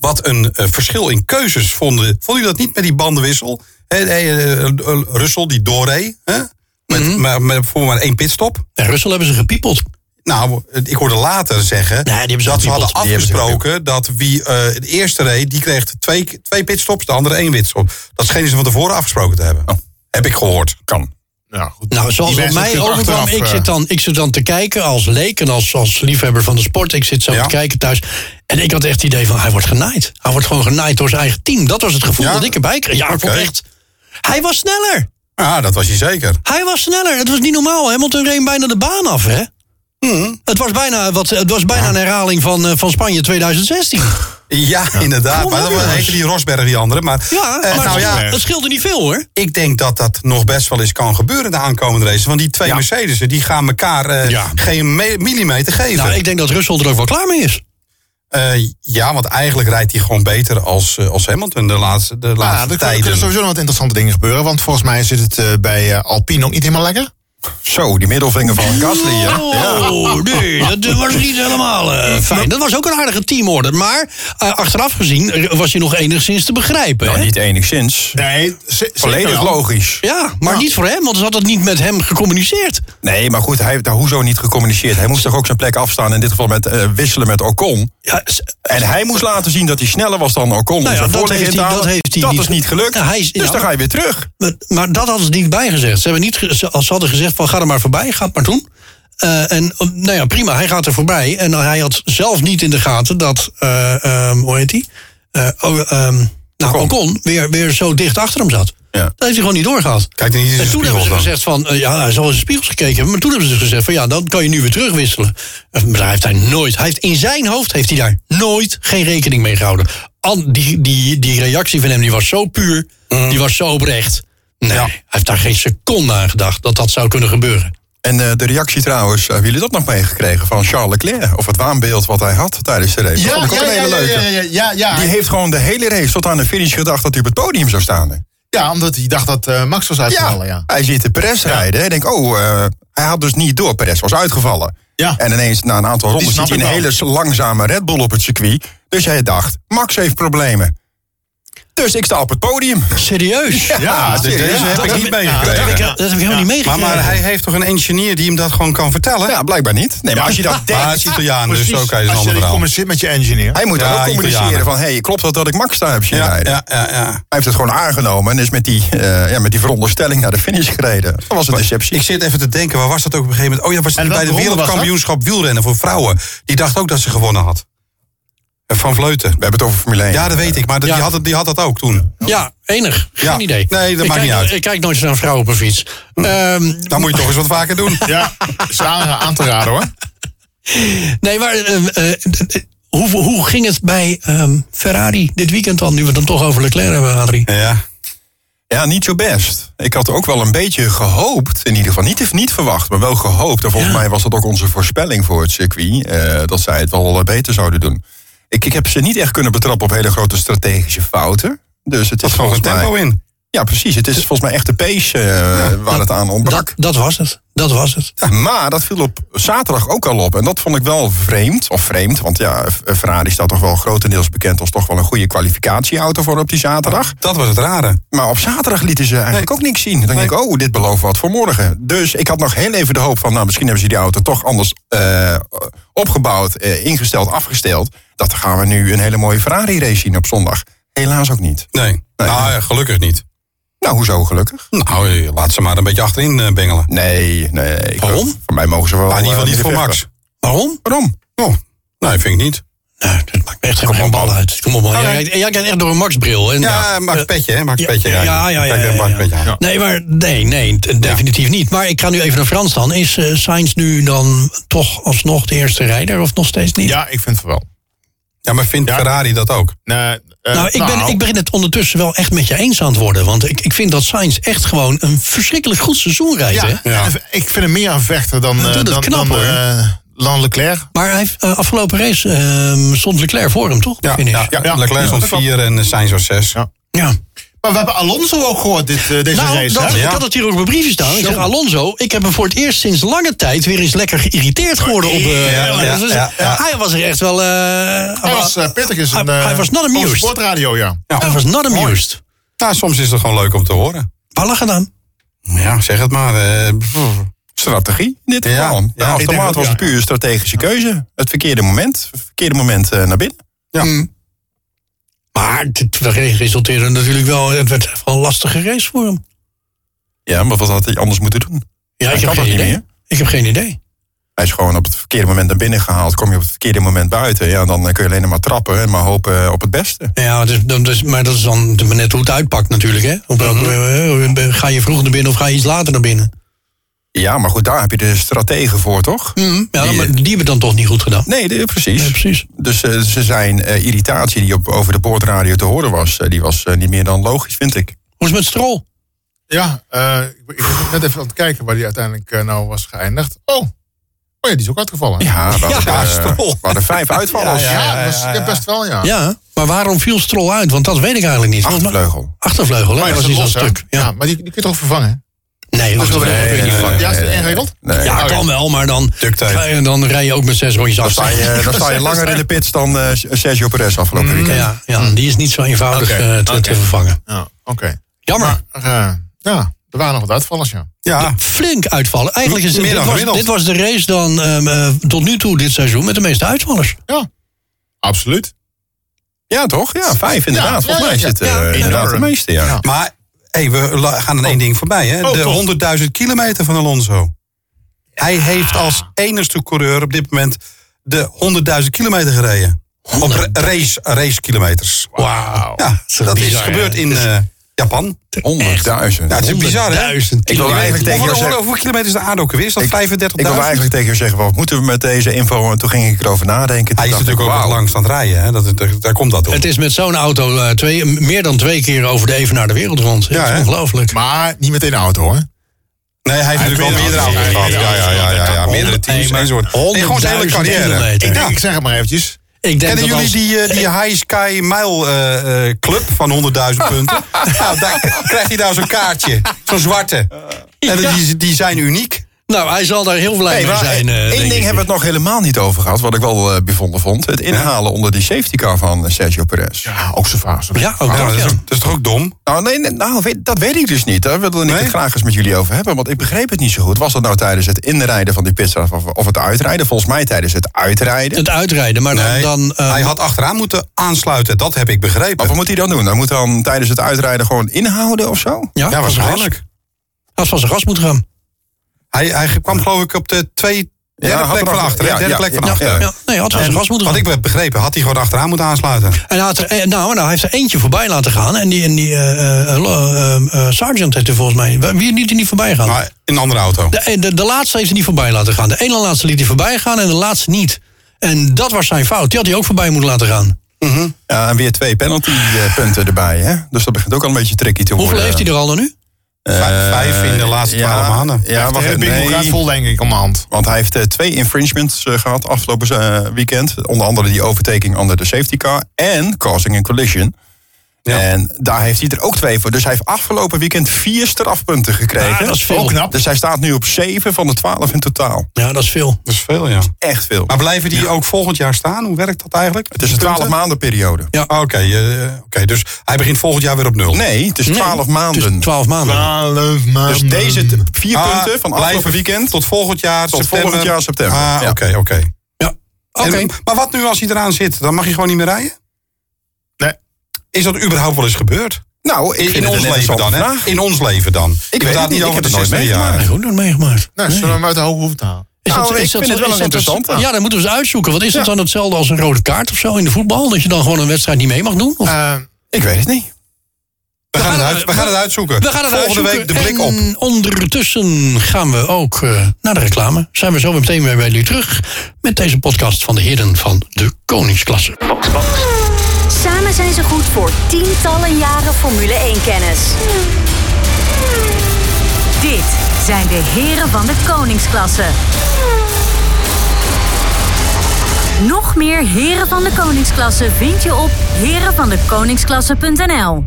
Speaker 3: wat een eh, verschil in keuzes vonden. Vond u dat niet met die bandenwissel? Hey, eh, Russell die doorreed, hè? Met, maar, met voor maar één pitstop.
Speaker 1: En Russell hebben ze gepiepeld.
Speaker 3: Nou, eh, ik hoorde later zeggen
Speaker 1: die hebben ze
Speaker 3: dat ze hadden
Speaker 1: gepiepeld. Die hebben ze
Speaker 3: afgesproken dat wie eh het eerste reed, die kreeg twee, twee pitstops, de andere één pitstop. Dat schenen ze van tevoren afgesproken te hebben. Heb ik gehoord.
Speaker 4: Kan.
Speaker 2: ja, goed.
Speaker 1: Nou, zoals
Speaker 2: Die
Speaker 1: het
Speaker 2: mensen
Speaker 1: mij
Speaker 2: natuurlijk
Speaker 1: overkwam,
Speaker 2: achteraf,
Speaker 1: ik
Speaker 2: eh,
Speaker 1: zit, dan, ik zit dan te kijken als leek en als, als liefhebber van de sport. Ik zit zo
Speaker 3: Ja.
Speaker 1: te kijken thuis. En ik had echt het idee van, hij wordt genaaid. Hij wordt gewoon genaaid door zijn eigen team. Dat was het gevoel
Speaker 3: Ja?
Speaker 1: dat ik erbij kreeg. Ja, ik vond
Speaker 3: Oké.
Speaker 1: echt... Hij was sneller.
Speaker 4: Ah,
Speaker 3: Ja, dat was je zeker.
Speaker 1: Hij was sneller. Het was niet normaal. Hamilton reed bijna de baan af, hè?
Speaker 3: Mhm.
Speaker 1: Het was bijna, wat, het was bijna een herhaling van, eh, van Spanje 2016.
Speaker 3: Ja, inderdaad.
Speaker 1: Kom
Speaker 3: maar
Speaker 1: op,
Speaker 3: dat was
Speaker 1: jongens.
Speaker 3: heette die Rosberg, die andere. Maar,
Speaker 1: Ja,
Speaker 3: eh,
Speaker 1: maar
Speaker 3: nou
Speaker 1: het,
Speaker 3: ja,
Speaker 1: het scheelde niet veel, hoor.
Speaker 3: ik denk dat dat nog best wel eens kan gebeuren de aankomende race. Want die twee Mercedes'en, die gaan elkaar eh,
Speaker 1: Ja.
Speaker 3: geen me- millimeter geven.
Speaker 1: Nou, ik denk dat Russell er ook wel klaar mee is.
Speaker 3: Eh, ja, want eigenlijk rijdt hij gewoon beter als, eh, als Hamilton de laatste, de
Speaker 2: Nou,
Speaker 3: laatste
Speaker 2: er kunnen- er
Speaker 3: tijden.
Speaker 2: kunnen sowieso nog wat interessante dingen gebeuren. Want volgens mij zit het eh, bij eh, Alpine ook niet helemaal lekker.
Speaker 4: Zo, die middelvinger van Gasly. hè? Ja.
Speaker 1: Oh, nee, (laughs) dat was niet helemaal eh, fijn. Dat was ook een aardige teamorder. Maar eh, achteraf gezien eh, was je nog enigszins te begrijpen.
Speaker 4: Nou,
Speaker 1: hè?
Speaker 4: niet enigszins.
Speaker 2: Nee, ze- zeker
Speaker 4: Volledig
Speaker 2: wel.
Speaker 4: logisch.
Speaker 1: Ja, maar niet voor hem, want ze had dat niet met hem gecommuniceerd.
Speaker 4: Nee, maar goed, hij heeft daar hoezo niet gecommuniceerd. Hij moest toch ook zijn plek afstaan, in dit geval met eh, wisselen met Ocon.
Speaker 1: Ja, s-
Speaker 4: En hij moest laten zien dat hij sneller was dan
Speaker 3: Nou
Speaker 4: Ocon. om
Speaker 1: ja,
Speaker 4: zijn
Speaker 1: dat
Speaker 4: voorligger
Speaker 1: heeft
Speaker 4: in te
Speaker 1: hij-
Speaker 4: halen.
Speaker 1: dat heeft hij niet
Speaker 4: is niet
Speaker 1: ge-
Speaker 4: gelukt.
Speaker 1: Ja, hij is-
Speaker 4: dus
Speaker 1: ja.
Speaker 4: dan ga je weer terug.
Speaker 1: maar, maar dat hadden ze niet bijgezegd. Ze, hebben niet ge- ze, ze hadden gezegd van ga er maar voorbij, ga het maar doen. Eh, en eh, nou ja, prima, hij gaat er voorbij. En hij had zelf niet in de gaten dat, eh, ehm, hoe heet hij? Eh, oh, ehm, nou,
Speaker 4: Ocon.
Speaker 1: Ocon weer, weer zo dicht achter hem zat.
Speaker 4: Ja.
Speaker 1: Dat heeft hij gewoon niet doorgehad.
Speaker 3: Kijk er niet in zijn
Speaker 1: En toen hebben
Speaker 3: spiegels
Speaker 1: ze
Speaker 3: dan.
Speaker 1: gezegd van, eh, ja, hij zal in zijn spiegels gekeken hebben. Maar toen hebben ze dus gezegd van, ja, dan kan je nu weer terugwisselen. Eh, Maar daar heeft hij nooit, hij heeft, in zijn hoofd heeft hij daar nooit geen rekening mee gehouden. An- die, die, die reactie van hem, die was zo puur,
Speaker 3: Mm.
Speaker 1: die was zo oprecht. Nee, hij heeft daar geen seconde aan gedacht dat dat zou kunnen gebeuren.
Speaker 4: En eh, de reactie trouwens, eh, hebben jullie dat nog meegekregen van Charles Leclerc? Of het waanbeeld wat hij had tijdens de race.
Speaker 2: Ja,
Speaker 4: dat vond ik ook
Speaker 2: ja,
Speaker 4: een hele
Speaker 2: ja,
Speaker 4: leuke.
Speaker 2: ja, ja, ja, ja.
Speaker 4: Die heeft gewoon de hele race tot aan de finish gedacht dat hij op het podium zou staan.
Speaker 2: Ja, omdat hij dacht dat eh, Max was uitgevallen, ja.
Speaker 4: hij ziet de Perez rijden. Hij denkt, oh, eh, hij had dus niet door. Perez was uitgevallen.
Speaker 2: Ja.
Speaker 4: En ineens na een aantal rondes
Speaker 2: snap
Speaker 4: ziet hij
Speaker 2: ik
Speaker 4: een
Speaker 2: wel.
Speaker 4: hele langzame Red Bull op het circuit. Dus hij dacht, Max heeft problemen. Dus ik sta op het podium.
Speaker 1: Serieus?
Speaker 4: Ja,
Speaker 2: Ah,
Speaker 3: dit-
Speaker 4: serieus,
Speaker 3: deze heb
Speaker 4: dat
Speaker 3: ik niet meegekregen.
Speaker 1: Dat, heb ik, dat heb ik helemaal niet
Speaker 3: Maar,
Speaker 1: meegekregen.
Speaker 3: maar hij heeft toch een engineer die hem dat gewoon kan vertellen?
Speaker 4: Ja, blijkbaar niet. Nee, maar als je dat
Speaker 3: Maar hij
Speaker 4: denkt...
Speaker 3: is Italiaan, dus
Speaker 2: Precies,
Speaker 3: oké, dat is een
Speaker 2: Als je
Speaker 3: ander
Speaker 2: niet
Speaker 3: verhaal.
Speaker 2: communiceert met je engineer.
Speaker 4: Hij moet
Speaker 3: Ja,
Speaker 4: dan ook communiceren
Speaker 3: Italianen.
Speaker 4: van, hey, klopt dat dat ik Max daar heb zien
Speaker 3: Ja,
Speaker 4: rijden?
Speaker 3: ja, ja, ja.
Speaker 4: Hij heeft het gewoon aangenomen en is met die, eh, ja, met die veronderstelling naar de finish gereden. Dat was een deceptie.
Speaker 3: Ik zit even te denken, waar was dat ook op een gegeven moment? Oh ja, was
Speaker 2: En
Speaker 3: het bij de
Speaker 2: welke ronde was dat?
Speaker 3: wereldkampioenschap wielrennen voor vrouwen. Die dacht ook dat ze gewonnen had. Eh, Van Vleuten.
Speaker 4: We hebben het over Formule 1.
Speaker 3: Ja, dat weet ik, maar dat-
Speaker 1: Ja.
Speaker 3: die, had, het- die had dat ook toen.
Speaker 1: Ja, enig. Geen
Speaker 3: Ja.
Speaker 1: idee.
Speaker 3: Nee, dat
Speaker 1: ik
Speaker 3: maakt
Speaker 1: kijk,
Speaker 3: niet uit. Mm.
Speaker 1: Ik kijk nooit naar een vrouw op een fiets. Ehm,
Speaker 3: Dan moet je toch eens wat vaker doen.
Speaker 2: (laughs) Ja, is aan, aan te raden hoor.
Speaker 1: Nee, maar eh, eh, d- d- hoe, hoe ging het bij ehm, Ferrari dit weekend dan? Nu we het dan toch over Leclerc hebben, Adrie.
Speaker 3: Ja.
Speaker 4: Ja, niet zo best. Ik had ook wel een beetje gehoopt, in ieder geval niet, niet verwacht, maar wel gehoopt. En volgens mij was dat ook onze voorspelling voor het circuit, eh, dat zij het wel eh, beter zouden doen. Ik, ik heb ze niet echt kunnen betrappen op hele grote strategische fouten. Dus het
Speaker 3: Dat
Speaker 4: is
Speaker 3: gewoon een
Speaker 4: volgens
Speaker 3: tempo
Speaker 4: mij...
Speaker 3: in.
Speaker 4: Ja, precies. Het is volgens mij echt de pace eh, waar het aan ontbrak.
Speaker 1: Dat, dat was het. Dat was het.
Speaker 4: Ja, maar dat viel op zaterdag ook al op. En dat vond ik wel vreemd. Of vreemd, want ja, F- eh, Ferrari staat toch wel grotendeels bekend als toch wel een goede kwalificatieauto voor op die zaterdag.
Speaker 3: Dat was het rare.
Speaker 4: Maar op zaterdag lieten ze eigenlijk ook niks zien. Dan denk ik, oh, dit belooft wat voor morgen. Dus ik had nog heel even de hoop van, nou, misschien hebben ze die auto toch anders eh, opgebouwd, eh, ingesteld, afgesteld. Dat gaan we nu een hele mooie Ferrari race zien op zondag. Helaas ook niet.
Speaker 3: Nee. Nou, ja, gelukkig niet.
Speaker 4: Nou, hoezo gelukkig?
Speaker 3: Nou, eh, laat ze maar een beetje achterin eh, bengelen.
Speaker 4: Nee, nee. ik-
Speaker 1: Waarom?
Speaker 4: Voor mij mogen ze wel...
Speaker 3: Maar in ieder geval
Speaker 4: Nou, eh,
Speaker 3: niet voor
Speaker 4: middenvechten.
Speaker 3: Max.
Speaker 1: Waarom?
Speaker 4: Waarom?
Speaker 3: Oh, nee, vind ik niet.
Speaker 1: Nou, dat maakt me echt helemaal geen bal uit. Kom op, man. Jij, kijkt- jij kijkt echt door een Max-bril. En,
Speaker 3: Ja, Eh,
Speaker 4: Eh,
Speaker 3: Max Petje, hè? Max
Speaker 1: Ja,
Speaker 3: Petje.
Speaker 1: ja, ja, ja,
Speaker 3: Kijk, eh,
Speaker 1: ja,
Speaker 3: Max
Speaker 1: ja.
Speaker 3: Petje aan.
Speaker 1: Nee, maar nee, nee, t- definitief niet. Maar ik ga nu even naar Frans dan. Is eh, Sainz nu dan toch alsnog de eerste rijder of nog steeds niet?
Speaker 2: Ja, ik vind het wel.
Speaker 3: Ja, maar vindt Ferrari dat ook?
Speaker 2: Nee, eh,
Speaker 1: Nou, ik, ben, ik begin het ondertussen wel echt met je eens aan het worden. Want ik, ik vind dat Sainz echt gewoon een verschrikkelijk goed seizoen rijdt. hè?
Speaker 2: Ja,
Speaker 3: Ja.
Speaker 2: en Ik vind hem meer een vechter dan, eh,
Speaker 1: doet het
Speaker 2: dan,
Speaker 1: knap,
Speaker 2: dan,
Speaker 1: hoor.
Speaker 2: eh, dan Leclerc.
Speaker 1: Maar hij heeft, eh, afgelopen race ehm, stond Leclerc voor hem, toch?
Speaker 3: Ja,
Speaker 1: Finish.
Speaker 3: ja,
Speaker 2: Ja,
Speaker 3: Leclerc
Speaker 2: ja,
Speaker 3: stond
Speaker 2: dat klopt.
Speaker 3: 4 en eh, Sainz was 6.
Speaker 2: Ja.
Speaker 1: Ja.
Speaker 2: Maar we hebben Alonso ook gehoord dit, eh, deze
Speaker 1: Nou,
Speaker 2: race.
Speaker 1: dat,
Speaker 2: hè?
Speaker 1: ik had het hier ook op mijn briefje staan. Ik zeg, Alonso, ik heb hem voor het eerst sinds lange tijd weer eens lekker geïrriteerd geworden. Op, eh,
Speaker 3: Ja, ja,
Speaker 1: dus-
Speaker 3: ja, ja.
Speaker 1: Hij was er echt wel... eh,
Speaker 2: Hij was eh, pittig is een,
Speaker 1: Hij- hij was not amused.
Speaker 2: Op sportradio, ja.
Speaker 1: hij was not amused.
Speaker 3: Nou, soms is het gewoon leuk om te horen.
Speaker 1: Waar lag het aan?
Speaker 3: Ja, zeg het maar. eh, pff.
Speaker 4: strategie in dit
Speaker 3: Ja,
Speaker 4: geval.
Speaker 3: ja,
Speaker 4: Ja,
Speaker 3: ik
Speaker 4: de
Speaker 2: denk
Speaker 4: automaat
Speaker 2: dat-
Speaker 4: was
Speaker 2: ja.
Speaker 4: een puur strategische keuze. Het verkeerde moment, het verkeerde moment eh, naar binnen.
Speaker 3: Ja.
Speaker 1: Maar het resulteerde natuurlijk wel... Het werd wel een lastige race voor hem.
Speaker 4: Ja, maar wat had hij anders moeten doen?
Speaker 1: Ja,
Speaker 4: kan
Speaker 1: ik heb
Speaker 4: dat
Speaker 1: geen
Speaker 4: niet
Speaker 1: idee.
Speaker 4: meer.
Speaker 1: Ik heb geen idee.
Speaker 4: Hij is gewoon op het verkeerde moment naar binnen gehaald. Kom je op het verkeerde moment buiten, ja, dan eh, kun je alleen maar trappen en maar hopen eh, op het beste.
Speaker 1: Ja, maar, dus, dan- dus, maar dat is dan maar net hoe het uitpakt natuurlijk. Hè? Op welke- eh, ga je vroeg naar binnen of ga je iets later naar binnen?
Speaker 4: Ja, maar goed, daar heb je de strategen voor, toch?
Speaker 3: Hm.
Speaker 1: Ja,
Speaker 4: Die,
Speaker 1: maar
Speaker 4: eh,
Speaker 1: die hebben dan toch niet goed gedaan.
Speaker 4: Nee, de- precies.
Speaker 1: Ja, precies.
Speaker 4: Dus eh, ze zijn eh, irritatie die op, over de boordradio te horen was, eh, die was eh, niet meer dan logisch, vind ik.
Speaker 1: Hoe is het met Strol?
Speaker 2: Ja, eh, ik, ik ben net even aan het kijken waar hij uiteindelijk eh, nou was geëindigd. Oh. oh ja, die is ook uitgevallen.
Speaker 4: Ja, we hadden,
Speaker 3: Ja,
Speaker 4: eh,
Speaker 3: Stroll.
Speaker 4: we hadden vijf uitvallers.
Speaker 2: ja, dat was, ja, best wel, ja.
Speaker 1: Ja, maar waarom viel Strol uit? Want dat weet ik eigenlijk niet. Volgens mij-
Speaker 4: Achtervleugel.
Speaker 1: Achtervleugel, hè?
Speaker 2: Maar Oh ja,
Speaker 1: dat
Speaker 2: dat
Speaker 1: was
Speaker 2: is
Speaker 1: iets aan
Speaker 2: los, hè?
Speaker 1: stuk. Ja.
Speaker 2: Ja, maar die, die kun je toch vervangen?
Speaker 1: Nee, dat
Speaker 2: dat
Speaker 1: nee,
Speaker 2: kun je niet
Speaker 1: nee,
Speaker 2: van. Ja, is het ingewikkeld?
Speaker 4: nee.
Speaker 1: Ja,
Speaker 2: Oké.
Speaker 1: kan wel, maar dan,
Speaker 3: Ductape.
Speaker 1: ga je- dan rij je ook met zes rondjes
Speaker 4: Dan
Speaker 1: af.
Speaker 4: sta je, Eh, dan
Speaker 3: (laughs)
Speaker 4: sta je langer in de pits dan eh, Sergio Perez afgelopen weekend.
Speaker 1: Ja, ja, die is niet zo eenvoudig
Speaker 2: Oké,
Speaker 1: eh, te,
Speaker 2: oké.
Speaker 1: te vervangen.
Speaker 2: Ja, oké.
Speaker 1: Jammer.
Speaker 2: Eh, ja, er waren nog wat uitvallers, ja.
Speaker 3: Ja,
Speaker 1: Flink uitvallen. Eigenlijk is dit,
Speaker 3: Meer
Speaker 1: dit,
Speaker 3: dan
Speaker 1: was,
Speaker 3: gemiddeld.
Speaker 1: dit was de race dan ehm, eh, tot nu toe dit seizoen met de meeste uitvallers.
Speaker 2: Ja, absoluut.
Speaker 4: Ja, toch? Ja, vijf inderdaad.
Speaker 2: Ja,
Speaker 4: Volgens mij
Speaker 2: ja,
Speaker 4: is
Speaker 2: ja.
Speaker 4: het eh,
Speaker 2: Ja,
Speaker 4: inderdaad
Speaker 2: enorm.
Speaker 4: de meeste, ja.
Speaker 2: Ja.
Speaker 3: maar hey, we la- gaan aan één ding voorbij. Hè?
Speaker 2: Oh, toch.
Speaker 3: de 100.000 kilometer van Alonso. Hij heeft als enigste coureur op dit moment de 100.000 kilometer gereden. Op ra- race, race kilometers.
Speaker 1: Wauw.
Speaker 3: Ja,
Speaker 1: is
Speaker 3: dat is
Speaker 1: bizar,
Speaker 3: gebeurd
Speaker 1: hè?
Speaker 3: in eh, Japan.
Speaker 4: 100.000.
Speaker 3: Ja, het is bizar, hè?
Speaker 1: 100.000
Speaker 4: Ik wil eigenlijk tegen
Speaker 3: Hoeveel,
Speaker 4: jou
Speaker 3: hoeveel,
Speaker 4: zeggen...
Speaker 3: hoeveel kilometer is de aarde ook weer? Is dat 35.000?
Speaker 4: Ik wil eigenlijk tegen je zeggen, wat moeten we met deze info? En toen ging ik erover nadenken.
Speaker 3: Hij is natuurlijk ook wat langs aan het rijden. Hè? Dat, dat- daar komt dat op.
Speaker 1: Het is met zo'n auto eh, twee, meer dan twee keer over de evenaar de wereld rond. Ja,
Speaker 3: Ja,
Speaker 1: dat is
Speaker 3: hè?
Speaker 1: ongelooflijk.
Speaker 2: Maar niet meteen de auto, hoor.
Speaker 3: Nee, hij heeft natuurlijk wel meerdere auto's gehad. Ja, ja, ja, ja, ja. Meerdere teams
Speaker 1: Nee,
Speaker 3: enzovoort.
Speaker 1: maar
Speaker 3: En gewoon zijn hele
Speaker 1: 100.000
Speaker 3: carrière.
Speaker 1: kilometer.
Speaker 2: Ik, denk,
Speaker 3: Ja.
Speaker 2: ik zeg het maar eventjes.
Speaker 1: Ik denk
Speaker 3: Kennen
Speaker 1: dat
Speaker 3: jullie
Speaker 1: als-
Speaker 3: die, eh, die High Sky Mile eh, eh, Club van 100.000 punten? nou, daar krijg je nou zo'n kaartje. Zo'n zwarte. En die, die zijn uniek.
Speaker 1: Nou, hij zal daar heel blij
Speaker 4: Nee,
Speaker 1: mee
Speaker 4: maar
Speaker 1: zijn. eh,
Speaker 4: Ah, één
Speaker 1: denk
Speaker 4: ding
Speaker 1: ik.
Speaker 4: hebben we het nog helemaal niet over gehad, wat ik wel eh bijzonder vond. Het inhalen onder die safety car van eh, Sergio Perez.
Speaker 2: Ja, ook zo vaak.
Speaker 1: Ja, ook
Speaker 3: Nou,
Speaker 1: dat,
Speaker 3: dat, is,
Speaker 1: ja.
Speaker 3: ook- dat is toch ook dom?
Speaker 4: Nou, nee, nee, nou weet- dat weet ik dus niet. Daar wilde ik
Speaker 3: Nee?
Speaker 4: het graag eens met jullie over hebben. Want ik begreep het niet zo goed. Was dat nou tijdens het inrijden van die pitstraat of, of het uitrijden? Volgens mij tijdens het uitrijden.
Speaker 1: Het uitrijden, maar dan...
Speaker 3: Nee,
Speaker 1: dan eh,
Speaker 3: hij had achteraan moeten aansluiten. Dat heb ik
Speaker 4: Maar
Speaker 3: begrepen.
Speaker 4: wat moet hij dan doen? Hij moet dan tijdens het uitrijden gewoon inhouden of zo?
Speaker 1: ja, als
Speaker 3: Ja,
Speaker 1: een gas,
Speaker 3: waarschijnlijk.
Speaker 1: als van zijn gas moet gaan.
Speaker 3: Hij, hij kwam geloof ik op de twee, derde
Speaker 4: had
Speaker 3: plek
Speaker 4: er
Speaker 3: van
Speaker 4: nog-
Speaker 3: achter. hè?
Speaker 4: ja,
Speaker 3: derde
Speaker 4: ja,
Speaker 3: plek van
Speaker 4: ja,
Speaker 3: achter.
Speaker 4: ja.
Speaker 1: Ja, nee, had van zijn gas moeten
Speaker 3: Wat
Speaker 1: gaan.
Speaker 3: ik heb begrepen, had hij gewoon achteraan moeten aansluiten.
Speaker 1: En hij had er, eh, nou, nou, hij heeft er eentje voorbij laten gaan. En die, en die eh, eh, eh, lo- eh, eh, sergeant heeft er volgens mij... Wie liet er niet voorbij gaan?
Speaker 3: Maar in een andere auto.
Speaker 1: De, de, de laatste heeft hij niet voorbij laten gaan. De ene laatste liet hij voorbij gaan en de laatste niet. En dat was zijn fout. Die had hij ook voorbij moeten laten gaan.
Speaker 4: Ja, en weer twee penaltypunten erbij. Hè? Dus dat begint ook al een beetje tricky te worden.
Speaker 1: Hoeveel heeft hij er al dan nu?
Speaker 3: Vijf- vijf in de laatste twaalf maanden.
Speaker 4: Ja,
Speaker 2: de
Speaker 4: wacht,
Speaker 2: hele bingo gaat
Speaker 4: nee,
Speaker 2: vol, denk ik, om de hand.
Speaker 4: want hij heeft eh, twee infringements eh, gehad afgelopen eh, weekend. Onder andere die overtaking under the safety car en causing a collision. En daar heeft hij er ook twee voor. Dus hij heeft afgelopen weekend vier strafpunten gekregen.
Speaker 1: Ah, dat is veel.
Speaker 4: Ook knap. Dus hij staat nu op zeven van de twaalf in totaal.
Speaker 1: Ja, dat is veel.
Speaker 3: Dat is veel, ja.
Speaker 4: Echt veel.
Speaker 3: Maar blijven die ook volgend jaar staan? Hoe werkt dat eigenlijk?
Speaker 4: het is een twaalf maanden periode.
Speaker 3: Ja. Oké, eh, oké, dus hij begint volgend jaar weer op nul.
Speaker 4: Nee, het is
Speaker 1: Nee,
Speaker 4: twaalf
Speaker 1: Dus
Speaker 4: maanden.
Speaker 1: 12 maanden.
Speaker 2: Twaalf maanden.
Speaker 4: Dus deze t- vier
Speaker 3: Ah,
Speaker 4: punten van afgelopen
Speaker 3: blijven
Speaker 4: weekend
Speaker 3: Tot volgend jaar
Speaker 4: Tot
Speaker 3: september.
Speaker 4: volgend jaar september,
Speaker 3: Ah, oké,
Speaker 4: ja.
Speaker 3: oké.
Speaker 1: Ja. Oké.
Speaker 3: En- Maar wat nu als hij eraan zit? Dan mag je gewoon niet meer rijden?
Speaker 2: Nee.
Speaker 3: is dat überhaupt wel eens gebeurd?
Speaker 4: Nou, ik
Speaker 3: In,
Speaker 4: vind
Speaker 3: in
Speaker 4: het
Speaker 3: ons
Speaker 4: een
Speaker 3: leven dan,
Speaker 4: interessante
Speaker 3: hè?
Speaker 4: vraag.
Speaker 3: In ons leven dan.
Speaker 4: Ik weet
Speaker 3: praat
Speaker 4: het niet, ik heb
Speaker 3: de
Speaker 4: het nooit
Speaker 3: 16e
Speaker 4: meegemaakt.
Speaker 1: Heb
Speaker 3: jaren.
Speaker 1: ik ook nog meegemaakt.
Speaker 2: Nou, zullen we hem uit de hoge hoeven te halen?
Speaker 1: Is
Speaker 4: Nou, ik
Speaker 1: is
Speaker 4: vind het wel
Speaker 1: is
Speaker 4: een interessante.
Speaker 1: Ja, dan moeten we eens uitzoeken. Wat is dat dan hetzelfde als een rode kaart of zo in de voetbal? Dat je dan gewoon een wedstrijd niet mee mag doen? Of?
Speaker 2: Eh,
Speaker 4: Ik weet het niet.
Speaker 3: We gaan, het
Speaker 1: gaan-
Speaker 3: uit, we gaan het uitzoeken.
Speaker 1: we gaan het
Speaker 3: Volgende
Speaker 1: uitzoeken.
Speaker 3: week de blik op.
Speaker 1: en ondertussen gaan we ook eh, naar de reclame. Zijn we zo meteen weer bij jullie terug met deze podcast van de heren van de Koningsklasse.
Speaker 5: Samen zijn ze goed voor tientallen jaren Formule 1-kennis. Dit zijn de heren van de Koningsklasse. Nog meer heren van de Koningsklasse vind je op herenvandekoningsklasse.nl.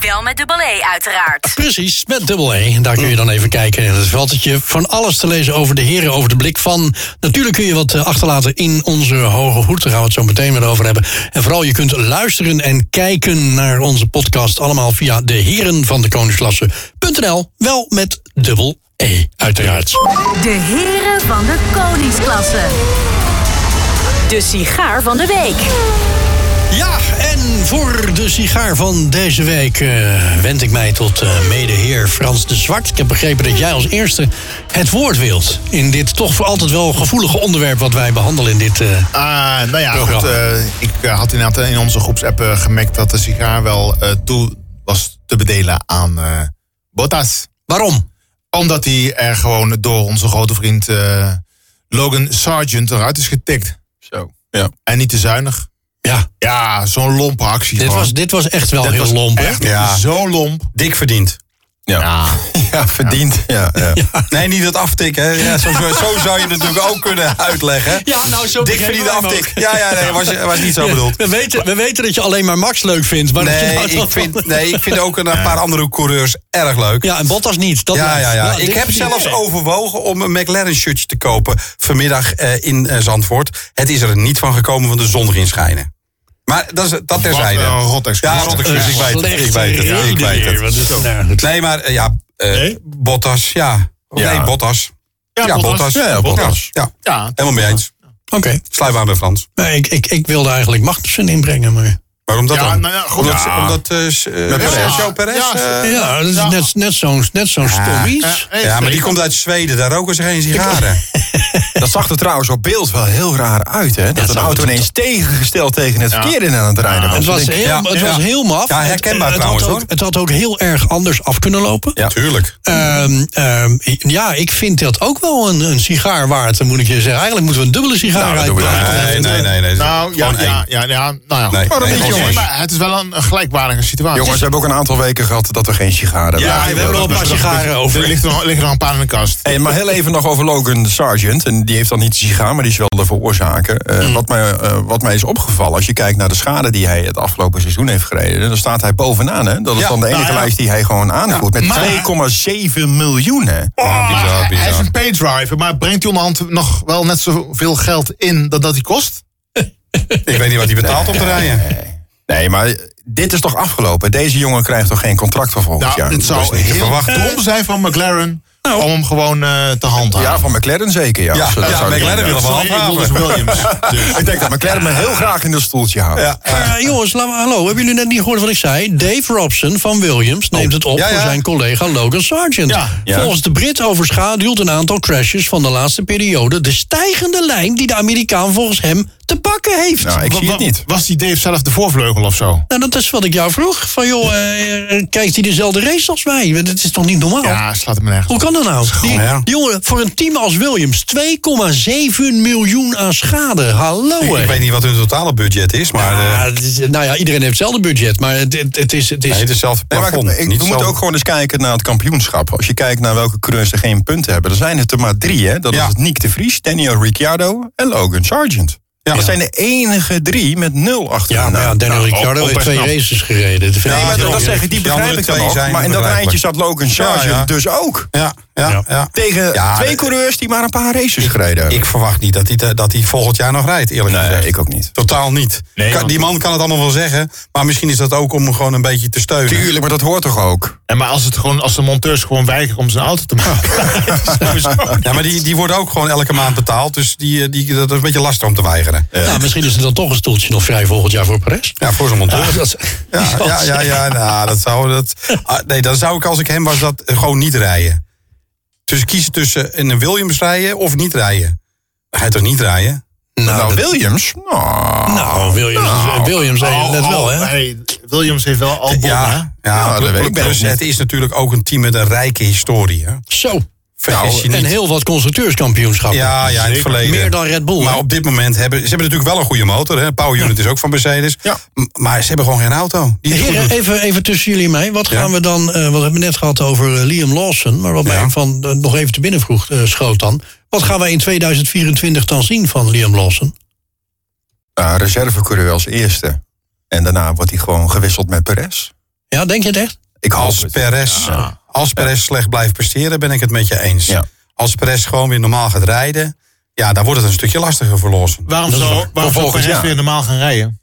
Speaker 5: Wel met dubbel E uiteraard.
Speaker 1: Precies, met dubbel E. En Daar kun je dan even kijken in het veldje. Van alles te lezen over de heren, over de blik van. Natuurlijk kun je wat eh, achterlaten in onze hoge hoed. Daar gaan we het zo meteen weer over hebben. En vooral je kunt luisteren en kijken naar onze podcast. Allemaal via de heren van de koningsklasse.nl. Wel met dubbel E, uiteraard.
Speaker 5: De heren van de Koningsklasse. De sigaar van de week.
Speaker 1: Ja, en voor de sigaar van deze week eh, wend ik mij tot eh, medeheer Frans de Zwart. Ik heb begrepen dat jij als eerste het woord wilt. In dit toch voor altijd wel gevoelige onderwerp wat wij behandelen in dit... eh,
Speaker 2: ah, nou ja,
Speaker 1: Programma.
Speaker 2: goed, eh, ik eh, had inderdaad in onze groepsapp eh, gemerkt dat de sigaar wel eh, toe was te bedelen aan eh, Bottas.
Speaker 1: waarom?
Speaker 2: Omdat hij er gewoon door onze grote vriend eh, Logan Sargent eruit is getikt.
Speaker 4: Zo. Ja.
Speaker 2: En niet te zuinig.
Speaker 1: Ja,
Speaker 2: Ja, zo'n lompe actie.
Speaker 1: dit
Speaker 2: gewoon.
Speaker 1: was, dit was echt wel
Speaker 2: Dit
Speaker 1: heel
Speaker 2: was
Speaker 1: lomp. hè?
Speaker 2: echt
Speaker 3: Ja.
Speaker 2: Zo lomp.
Speaker 3: Dik verdiend.
Speaker 4: Ja. Ja.
Speaker 2: Ja.
Speaker 4: Ja, verdiend. Ja,
Speaker 3: (laughs)
Speaker 4: ja.
Speaker 3: Nee, niet dat aftikken. hè. Ja, zo, zo- zo zou je het natuurlijk ook kunnen uitleggen.
Speaker 1: Ja, nou, zo
Speaker 3: Dik
Speaker 1: begrepen
Speaker 3: verdiende
Speaker 1: wij hem
Speaker 3: aftik.
Speaker 1: ook.
Speaker 3: Ja, ja, nee, was, was niet zo bedoeld.
Speaker 1: We weten, we weten dat je alleen maar Max leuk vindt. Maar dat je
Speaker 3: Nee,
Speaker 1: nou
Speaker 3: ik
Speaker 1: toch-
Speaker 3: vind, nee, ik vind ook een paar andere coureurs erg leuk.
Speaker 1: Ja, en Bottas niet. Dat
Speaker 3: Ja,
Speaker 1: blijft.
Speaker 3: ja, ja.
Speaker 1: Nou, dit
Speaker 3: Ik heb
Speaker 1: verdient-
Speaker 3: zelfs overwogen om een McLaren shirtje te kopen vanmiddag eh, in eh, Zandvoort. Het is er niet van gekomen van de zon erin schijnen. Maar dat, is, dat terzijde.
Speaker 2: een rot excuus.
Speaker 3: Ja, een rot
Speaker 1: Een
Speaker 3: excuus. ik weet het, ik weet het,
Speaker 1: slechte
Speaker 3: ik weet
Speaker 1: reden,
Speaker 3: het.
Speaker 1: want is nou goed.
Speaker 3: Nee, maar eh, ja, eh,
Speaker 1: Nee?
Speaker 3: Bottas, ja. Of
Speaker 4: Ja.
Speaker 3: Nee, Bottas.
Speaker 2: Ja, Bottas.
Speaker 4: Ja, Bottas.
Speaker 3: Ja,
Speaker 2: Ja,
Speaker 3: helemaal mee eens.
Speaker 1: Oké.
Speaker 3: Sluit maar aan bij Frans.
Speaker 1: Nee, ik, ik, ik wilde eigenlijk Magnussen inbrengen, maar...
Speaker 3: Waarom dat
Speaker 2: ja,
Speaker 3: dan?
Speaker 2: nou ja, goed.
Speaker 3: Omdat,
Speaker 2: Ja.
Speaker 3: omdat eh, s- eh, Sergio Perez...
Speaker 2: Ja,
Speaker 3: eh,
Speaker 1: Ja, dat is
Speaker 2: ja.
Speaker 1: net, net zo'n net zo'n stom iets.
Speaker 2: Ja,
Speaker 3: ja, maar die komt uit Zweden. Daar roken ze geen sigaren.
Speaker 4: (laughs) Dat zag er trouwens op beeld wel heel raar uit, hè? Dat
Speaker 1: dat
Speaker 4: een auto
Speaker 1: was-
Speaker 4: ineens tegengesteld tegen het verkeer in aan het rijden was.
Speaker 1: Het was heel,
Speaker 3: Ja,
Speaker 1: het
Speaker 3: ja.
Speaker 1: was heel maf.
Speaker 3: Ja, herkenbaar
Speaker 1: het, het
Speaker 3: trouwens,
Speaker 1: had ook,
Speaker 3: hoor.
Speaker 1: Het had ook heel erg anders af kunnen lopen.
Speaker 3: Ja. Tuurlijk.
Speaker 1: Ehm, ehm, ja, ik vind dat ook wel een, een sigaar waard, dan moet ik je zeggen. Eigenlijk moeten we een dubbele sigaar
Speaker 4: Nou, dat doen we
Speaker 1: uitpakken.
Speaker 4: dan.
Speaker 3: Nee, nee, nee. nee.
Speaker 2: Nou, ja,
Speaker 3: Gewoon
Speaker 2: ja,
Speaker 3: één.
Speaker 2: ja, ja, nou ja.
Speaker 3: Nee,
Speaker 2: Maar
Speaker 3: nee,
Speaker 2: dat
Speaker 4: nee,
Speaker 2: niet,
Speaker 4: jongens.
Speaker 2: jongens. Maar het is wel een, een gelijkwaardige situatie.
Speaker 4: Jongens, we hebben ook een aantal weken gehad dat we geen sigaren
Speaker 3: Ja, we hebben
Speaker 1: er al een paar sigaren over.
Speaker 2: Er liggen er nog- liggen er nog een paar in de kast.
Speaker 4: Hey, maar heel even nog over Logan Sargent. En die heeft dan niet een sigaar, maar die is wel de veroorzaker.
Speaker 1: Mm.
Speaker 4: Eh, wat, mij, eh, wat mij is opgevallen, als je kijkt naar de schade die hij het afgelopen seizoen heeft gereden, dan staat hij bovenaan. Hè? Dat is
Speaker 3: Ja,
Speaker 4: dan de
Speaker 3: nou
Speaker 4: enige
Speaker 2: ja.
Speaker 4: lijst die hij gewoon aanvoert.
Speaker 1: maar-
Speaker 4: met 2,7 miljoen. Hè?
Speaker 2: Maar
Speaker 1: Ah,
Speaker 3: bizar,
Speaker 2: Ah, hij-
Speaker 3: bizar.
Speaker 2: Hij is een paydriver, maar brengt hij onderhand nog wel net zoveel geld in dat dat hij kost?
Speaker 3: Ik weet niet wat hij betaalt om te rijden.
Speaker 4: Nee, maar dit is toch afgelopen? Deze jongen krijgt toch geen contract voor volgend
Speaker 2: Nou,
Speaker 4: jaar?
Speaker 2: het
Speaker 4: Dat is
Speaker 2: zou
Speaker 4: niet te
Speaker 2: heel
Speaker 4: verwachten.
Speaker 2: dom zijn van McLaren om hem gewoon eh, te handhaven.
Speaker 4: Ja, van McLaren zeker, ja.
Speaker 3: Ja,
Speaker 4: Zo- dat
Speaker 3: ja,
Speaker 4: zou ik
Speaker 3: McLaren
Speaker 4: doen,
Speaker 3: willen
Speaker 4: ja.
Speaker 2: Sorry,
Speaker 3: we
Speaker 2: ik bedoel
Speaker 3: handhaven.
Speaker 2: dus Williams. Dus.
Speaker 4: Ik denk dat McLaren me heel graag in dat stoeltje houdt.
Speaker 3: Nou, Ja.
Speaker 1: Maar,
Speaker 3: (laughs)
Speaker 1: eh, jongens, laat maar- hallo, hebben jullie net niet gehoord wat ik zei? Dave Robson van Williams neemt het op
Speaker 3: Oh. Ja, ja.
Speaker 1: voor zijn collega Logan Sargent.
Speaker 2: Ja,
Speaker 4: ja.
Speaker 1: Volgens de Brit overschaduwt een aantal crashes van de laatste periode... de stijgende lijn die de Amerikaan volgens hem te pakken heeft.
Speaker 4: Nou, ik zie
Speaker 2: Wa-
Speaker 4: het
Speaker 2: wa-
Speaker 4: niet.
Speaker 2: Was die Dave zelf de voorvleugel of zo?
Speaker 1: Nou, dat is wat ik jou vroeg. Van joh, eh, eh, kijkt hij dezelfde race als wij? Want Het is toch niet normaal?
Speaker 2: Ja, slaat hem nergens.
Speaker 1: Hoe
Speaker 2: op.
Speaker 1: kan dat nou? Die,
Speaker 3: gewoon- ja.
Speaker 1: die jongen, voor een team als Williams, 2,7 miljoen aan schade. Hallo
Speaker 3: Ik
Speaker 1: hè.
Speaker 3: weet niet wat hun totale budget is, maar... eh,
Speaker 1: Ja, het is- nou ja, iedereen heeft hetzelfde budget, maar het, het, het is... Het is
Speaker 3: nee, het is zelf
Speaker 4: Nee, maar
Speaker 3: plafond.
Speaker 4: ik, ik-
Speaker 3: niet
Speaker 4: we moeten
Speaker 3: zelf-
Speaker 4: ook gewoon eens kijken naar het kampioenschap. Als je kijkt naar welke coureurs er geen punten hebben, dan zijn het er maar drie. Hè? Dat
Speaker 3: Ja.
Speaker 4: is het Nick de Vries, Daniel Ricciardo en Logan Sargent.
Speaker 3: Ja.
Speaker 4: Dat zijn de enige drie met nul achter
Speaker 1: ja, maar ja, Daniel
Speaker 2: nou,
Speaker 1: Ricciardo
Speaker 2: ook- ook
Speaker 1: heeft
Speaker 2: best
Speaker 1: twee
Speaker 2: knap.
Speaker 1: races gereden. Dat vind
Speaker 3: Ja,
Speaker 1: ik
Speaker 4: Nee, maar
Speaker 1: heel
Speaker 4: dat,
Speaker 1: erg.
Speaker 4: zeg ik, die
Speaker 3: Die andere
Speaker 4: begrijp ik dan
Speaker 3: twee
Speaker 4: nog.
Speaker 3: zijn
Speaker 4: Maar in dat
Speaker 3: begrijpelijk.
Speaker 4: rijtje zat Logan Sargent
Speaker 3: ja.
Speaker 4: dus ook.
Speaker 3: Ja, ja, ja.
Speaker 4: Tegen
Speaker 3: Ja,
Speaker 4: twee
Speaker 3: eh,
Speaker 4: coureurs die maar een paar races gereden hebben.
Speaker 3: Ik verwacht niet dat hij, te- dat hij volgend jaar nog rijdt, eerlijk gezegd.
Speaker 4: nee, ik ook niet.
Speaker 3: Totaal niet.
Speaker 2: Nee,
Speaker 3: Kan-
Speaker 2: want-
Speaker 3: die man kan het allemaal wel zeggen, maar misschien is dat ook om hem gewoon een beetje te steunen.
Speaker 4: Tuurlijk, maar dat hoort toch ook?
Speaker 2: En maar als, het gewoon, als de monteurs gewoon weigeren om zijn auto te (laughs) maken.
Speaker 3: Ja, maar die, die worden ook gewoon elke maand betaald, dus die, eh, die, dat is een beetje lastig om te weigeren.
Speaker 1: Nou, misschien is er dan toch een stoeltje nog vrij volgend jaar voor Perez.
Speaker 3: Ja, voor zo'n monteur.
Speaker 1: Dat is- (laughs)
Speaker 3: Ja, ja, ja, ja, nou, dat zou, dat, ah, nee, dan zou ik als ik hem was dat eh, gewoon niet rijden. Dus kiezen tussen in een Williams rijden of niet rijden. Ga je toch niet rijden?
Speaker 4: Nou,
Speaker 1: dat-
Speaker 4: Williams? Nou,
Speaker 1: Nou, Williams, Williams zei het net
Speaker 3: Oh,
Speaker 1: wel, hè?
Speaker 2: Oh, Hey, Williams heeft wel al bommen, hè?
Speaker 3: ja, ja,
Speaker 4: Ja, dat weet ik
Speaker 3: plus
Speaker 4: ook niet.
Speaker 3: het is natuurlijk ook een team met een rijke historie. Hè?
Speaker 1: Zo.
Speaker 3: Vergis je
Speaker 1: Nou, en
Speaker 3: niet.
Speaker 1: heel wat constructeurskampioenschappen.
Speaker 3: Ja, ja, in het verleden.
Speaker 1: Meer dan Red Bull.
Speaker 3: Maar
Speaker 1: hè?
Speaker 3: op dit moment hebben ze hebben natuurlijk wel een goede motor. Hè? Power Unit is ook van Mercedes.
Speaker 4: Ja.
Speaker 3: M- Maar ze hebben gewoon geen auto. Die het goed
Speaker 1: Heren,
Speaker 3: doet.
Speaker 1: even, even tussen jullie en mij. Wat gaan we dan, eh, wat hebben we net gehad over eh, Liam Lawson, maar wat
Speaker 3: Ja.
Speaker 1: mij van, eh, nog even te binnen vroeg, eh, schoot dan. Wat gaan wij in 2024 dan zien van Liam Lawson?
Speaker 4: eh, reservecoureur als eerste. En daarna wordt hij gewoon gewisseld met Perez.
Speaker 1: Ja, denk je het echt?
Speaker 4: Ik hoop
Speaker 3: Als
Speaker 4: het.
Speaker 3: Perez, als Perez slecht blijft presteren, ben ik het met je eens.
Speaker 4: Ja.
Speaker 3: Als Perez gewoon weer normaal gaat rijden, ja, dan wordt het een stukje lastiger voor Lawson.
Speaker 2: Waarom
Speaker 1: Dat is
Speaker 2: zou
Speaker 1: waar.
Speaker 2: waarom zou
Speaker 4: Vervolgens,
Speaker 2: Perez
Speaker 4: ja.
Speaker 2: weer normaal gaan rijden?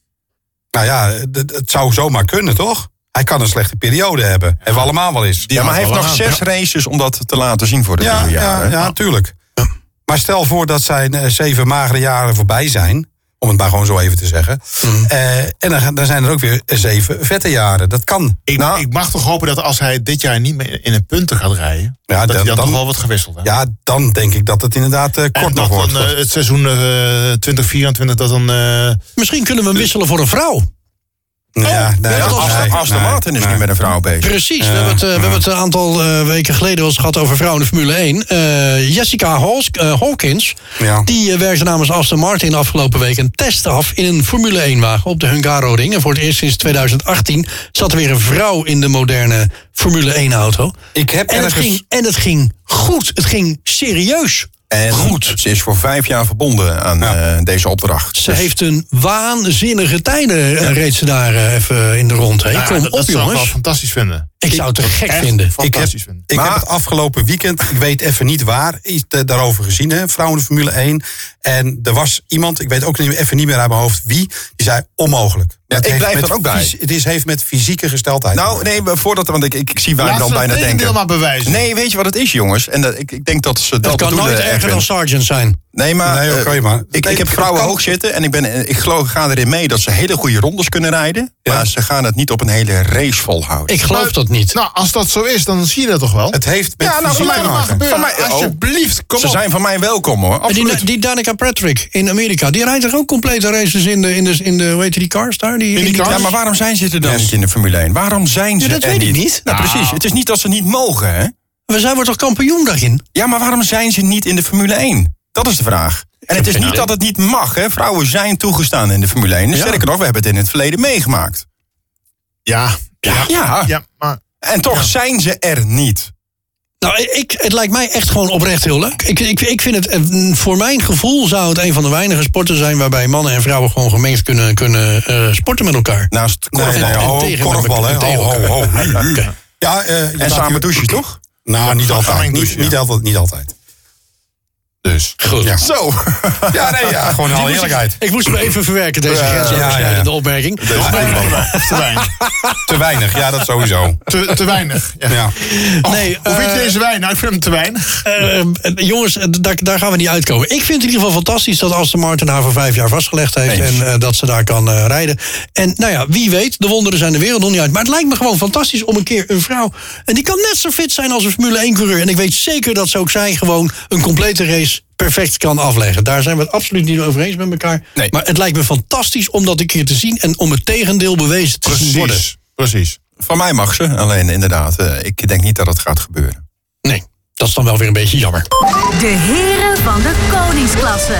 Speaker 3: Nou ja, d- d- het zou zomaar kunnen, toch? Hij kan een slechte periode hebben. Hebben we allemaal wel eens.
Speaker 4: Ja, maar hij heeft
Speaker 2: wel
Speaker 4: nog
Speaker 2: aan,
Speaker 4: zes races om dat te laten zien voor de
Speaker 3: Ja,
Speaker 4: nieuwe
Speaker 3: ja,
Speaker 4: jaren.
Speaker 3: ja, tuurlijk. Maar stel voor dat zijn eh, zeven magere jaren voorbij zijn. Om het maar gewoon zo even te zeggen.
Speaker 2: Mm.
Speaker 3: Eh, en dan, gaan- dan zijn er ook weer zeven vette jaren. Dat kan.
Speaker 2: Ik,
Speaker 3: Nou,
Speaker 2: ik mag toch hopen dat als hij dit jaar niet meer in de punten gaat rijden...
Speaker 3: Ja,
Speaker 2: dat
Speaker 3: dan-
Speaker 2: hij dan,
Speaker 3: dan-
Speaker 2: toch wel wordt gewisseld. Hè?
Speaker 3: ja, dan denk ik dat het inderdaad eh,
Speaker 2: En
Speaker 3: kort nog
Speaker 2: dat
Speaker 3: wordt.
Speaker 2: dan, eh, het seizoen eh, 2024, dat dan... eh,
Speaker 1: Misschien kunnen we hem wisselen voor een vrouw.
Speaker 4: Oh,
Speaker 3: Ja, nee,
Speaker 4: Ja,
Speaker 3: dat-
Speaker 4: Aston-
Speaker 3: nee,
Speaker 4: Aston
Speaker 3: nee,
Speaker 4: Martin is
Speaker 3: nee.
Speaker 4: nu met een vrouw bezig.
Speaker 1: Precies, we hebben het, eh, we hebben het een aantal eh, weken geleden wel eens gehad over vrouwen in de Formule 1. Eh, Jessica Hals- eh, Hawkins,
Speaker 3: Ja.
Speaker 1: die eh, werkte namens Aston Martin afgelopen week een test af in een Formule 1 wagen op de Hungaro Ring. En voor het eerst sinds 2018 zat er weer een vrouw in de moderne Formule 1 auto.
Speaker 3: Ik heb
Speaker 1: en, het
Speaker 3: ergens-
Speaker 1: ging, en het ging goed, het ging serieus.
Speaker 4: En goed. Ze is voor vijf jaar verbonden aan eh, deze opdracht.
Speaker 2: Dus-
Speaker 1: Ze heeft een waanzinnige tijden, eh, reed ze daar eh, even in de rond. Hè.
Speaker 2: Nou ja,
Speaker 1: Kom op
Speaker 2: dat zou ik wel
Speaker 1: jongens,
Speaker 2: fantastisch vinden.
Speaker 1: ik zou het te gek
Speaker 2: Echt
Speaker 1: vinden.
Speaker 3: Ik heb,
Speaker 2: Fantastisch vinden.
Speaker 3: ik heb het afgelopen weekend, ik weet even niet waar, iets eh, daarover gezien. Hè? Vrouwen in de Formule 1. En er was iemand, ik weet ook niet- even niet meer uit mijn hoofd wie, die zei onmogelijk. Het
Speaker 4: ik
Speaker 3: heeft
Speaker 4: blijf
Speaker 3: met
Speaker 4: er ook bij.
Speaker 3: fysi- Het is, heeft met fysieke gesteldheid. te
Speaker 4: Nou,
Speaker 3: maken.
Speaker 4: nee, maar voordat, want ik, ik, ik zie waar
Speaker 2: Laat
Speaker 4: dan
Speaker 2: ze dat
Speaker 4: bijna
Speaker 2: tegendeel
Speaker 4: denken.
Speaker 2: maar bewijzen.
Speaker 4: Nee, weet je wat het is, jongens? En dat, ik, ik denk dat ze dat,
Speaker 1: Dat kan
Speaker 4: bedoelen,
Speaker 1: nooit erger
Speaker 4: Edwin.
Speaker 1: dan Sargent zijn.
Speaker 4: Nee, maar,
Speaker 3: Nee, oké,
Speaker 4: eh,
Speaker 3: maar-
Speaker 4: ik,
Speaker 3: Nee,
Speaker 4: ik heb
Speaker 3: dat
Speaker 4: vrouwen
Speaker 3: kan.
Speaker 4: hoog zitten en ik, ben, eh, ik geloof, ga erin mee dat ze hele goede rondes kunnen rijden.
Speaker 3: Ja.
Speaker 4: Maar ze gaan het niet op een hele race volhouden.
Speaker 1: Ik geloof
Speaker 2: Maar-
Speaker 1: dat niet.
Speaker 2: Nou, als dat zo is, dan zie je dat toch wel?
Speaker 3: Het heeft met
Speaker 4: Ja, nou,
Speaker 3: fysieke
Speaker 4: voor mij
Speaker 2: Laat het
Speaker 3: te
Speaker 2: maar
Speaker 4: mag.
Speaker 3: maken.
Speaker 2: gebeuren.
Speaker 4: Van mij- oh.
Speaker 2: Alsjeblieft, kom
Speaker 4: ze
Speaker 2: op.
Speaker 4: zijn van mij welkom hoor.
Speaker 1: Maar
Speaker 4: Absoluut.
Speaker 1: Die, die Danica Patrick in Amerika, die rijdt er ook complete races in de, in de, in de hoe heet die cars daar? Die, in die
Speaker 4: Ja, maar waarom zijn ze er dan niet in de Formule 1? Waarom zijn ze
Speaker 1: dat
Speaker 4: er
Speaker 1: weet ik
Speaker 4: niet?
Speaker 1: niet.
Speaker 4: Nou, precies. Het is niet dat ze niet mogen, hè?
Speaker 1: We zijn we toch kampioen daarin?
Speaker 4: Ja, maar waarom zijn ze niet in de Formule 1? Dat is de vraag. En het is niet dat het niet mag, hè? Vrouwen zijn toegestaan in de Formule 1. Sterker nog, we hebben het in het verleden meegemaakt.
Speaker 2: Ja, ja,
Speaker 4: Ja,
Speaker 2: ja, maar
Speaker 4: en toch zijn ze er niet.
Speaker 1: Nou, ik, het lijkt mij echt gewoon oprecht heel leuk. Ik, ik, ik vind het, eh, voor mijn gevoel zou het een van de weinige sporten zijn... waarbij mannen en vrouwen gewoon gemengd kunnen, kunnen eh, sporten met elkaar.
Speaker 4: Naast korfbal.
Speaker 1: en- en
Speaker 4: ho,
Speaker 1: tegen
Speaker 4: korfbal, hè?
Speaker 1: elkaar.
Speaker 4: Ho, ho, ho.
Speaker 1: (laughs) Oké.
Speaker 3: Ja, eh, je
Speaker 4: En
Speaker 3: laat
Speaker 4: samen
Speaker 3: je-
Speaker 4: douchen, toch?
Speaker 3: Nou, niet altijd.
Speaker 2: samen
Speaker 3: Niet,
Speaker 2: douchen, ja.
Speaker 3: niet altijd. Niet altijd.
Speaker 4: Dus.
Speaker 1: Goed.
Speaker 4: Zo.
Speaker 3: (laughs) Ja, nee, ja, gewoon in alle eerlijkheid.
Speaker 1: Ik moest me even verwerken, deze
Speaker 3: Ja,
Speaker 1: grensoverschrijdende
Speaker 3: ja, ja.
Speaker 1: opmerking.
Speaker 2: te weinig.
Speaker 3: Te weinig, ja, dat sowieso.
Speaker 2: Te, te weinig. Ja.
Speaker 3: Ja.
Speaker 1: (laughs) Nee,
Speaker 2: Hoe vind je
Speaker 1: eh,
Speaker 2: deze wijn? Nou, ik vind hem te weinig.
Speaker 1: Eh, eh, jongens, eh, daar, daar gaan we niet uitkomen. Ik vind het in ieder geval fantastisch dat Aston Martin haar voor vijf jaar vastgelegd heeft. En
Speaker 4: Eens.
Speaker 1: eh, dat ze daar kan eh, rijden. En nou ja, wie weet, de wonderen zijn de wereld nog niet uit. Maar het lijkt me gewoon fantastisch om een keer een vrouw. En die kan net zo fit zijn als een Formule 1-coureur. En ik weet zeker dat ze ook zij gewoon een complete race perfect kan afleggen. Daar zijn we het absoluut niet over eens met elkaar.
Speaker 4: Nee.
Speaker 1: Maar het lijkt me fantastisch om dat een keer te zien. En om het tegendeel bewezen te zien worden.
Speaker 2: Precies.
Speaker 4: Van mij mag ze, alleen inderdaad. eh, ik denk niet dat het gaat gebeuren.
Speaker 1: Nee, dat is dan wel weer een beetje jammer.
Speaker 5: De heren van de koningsklasse.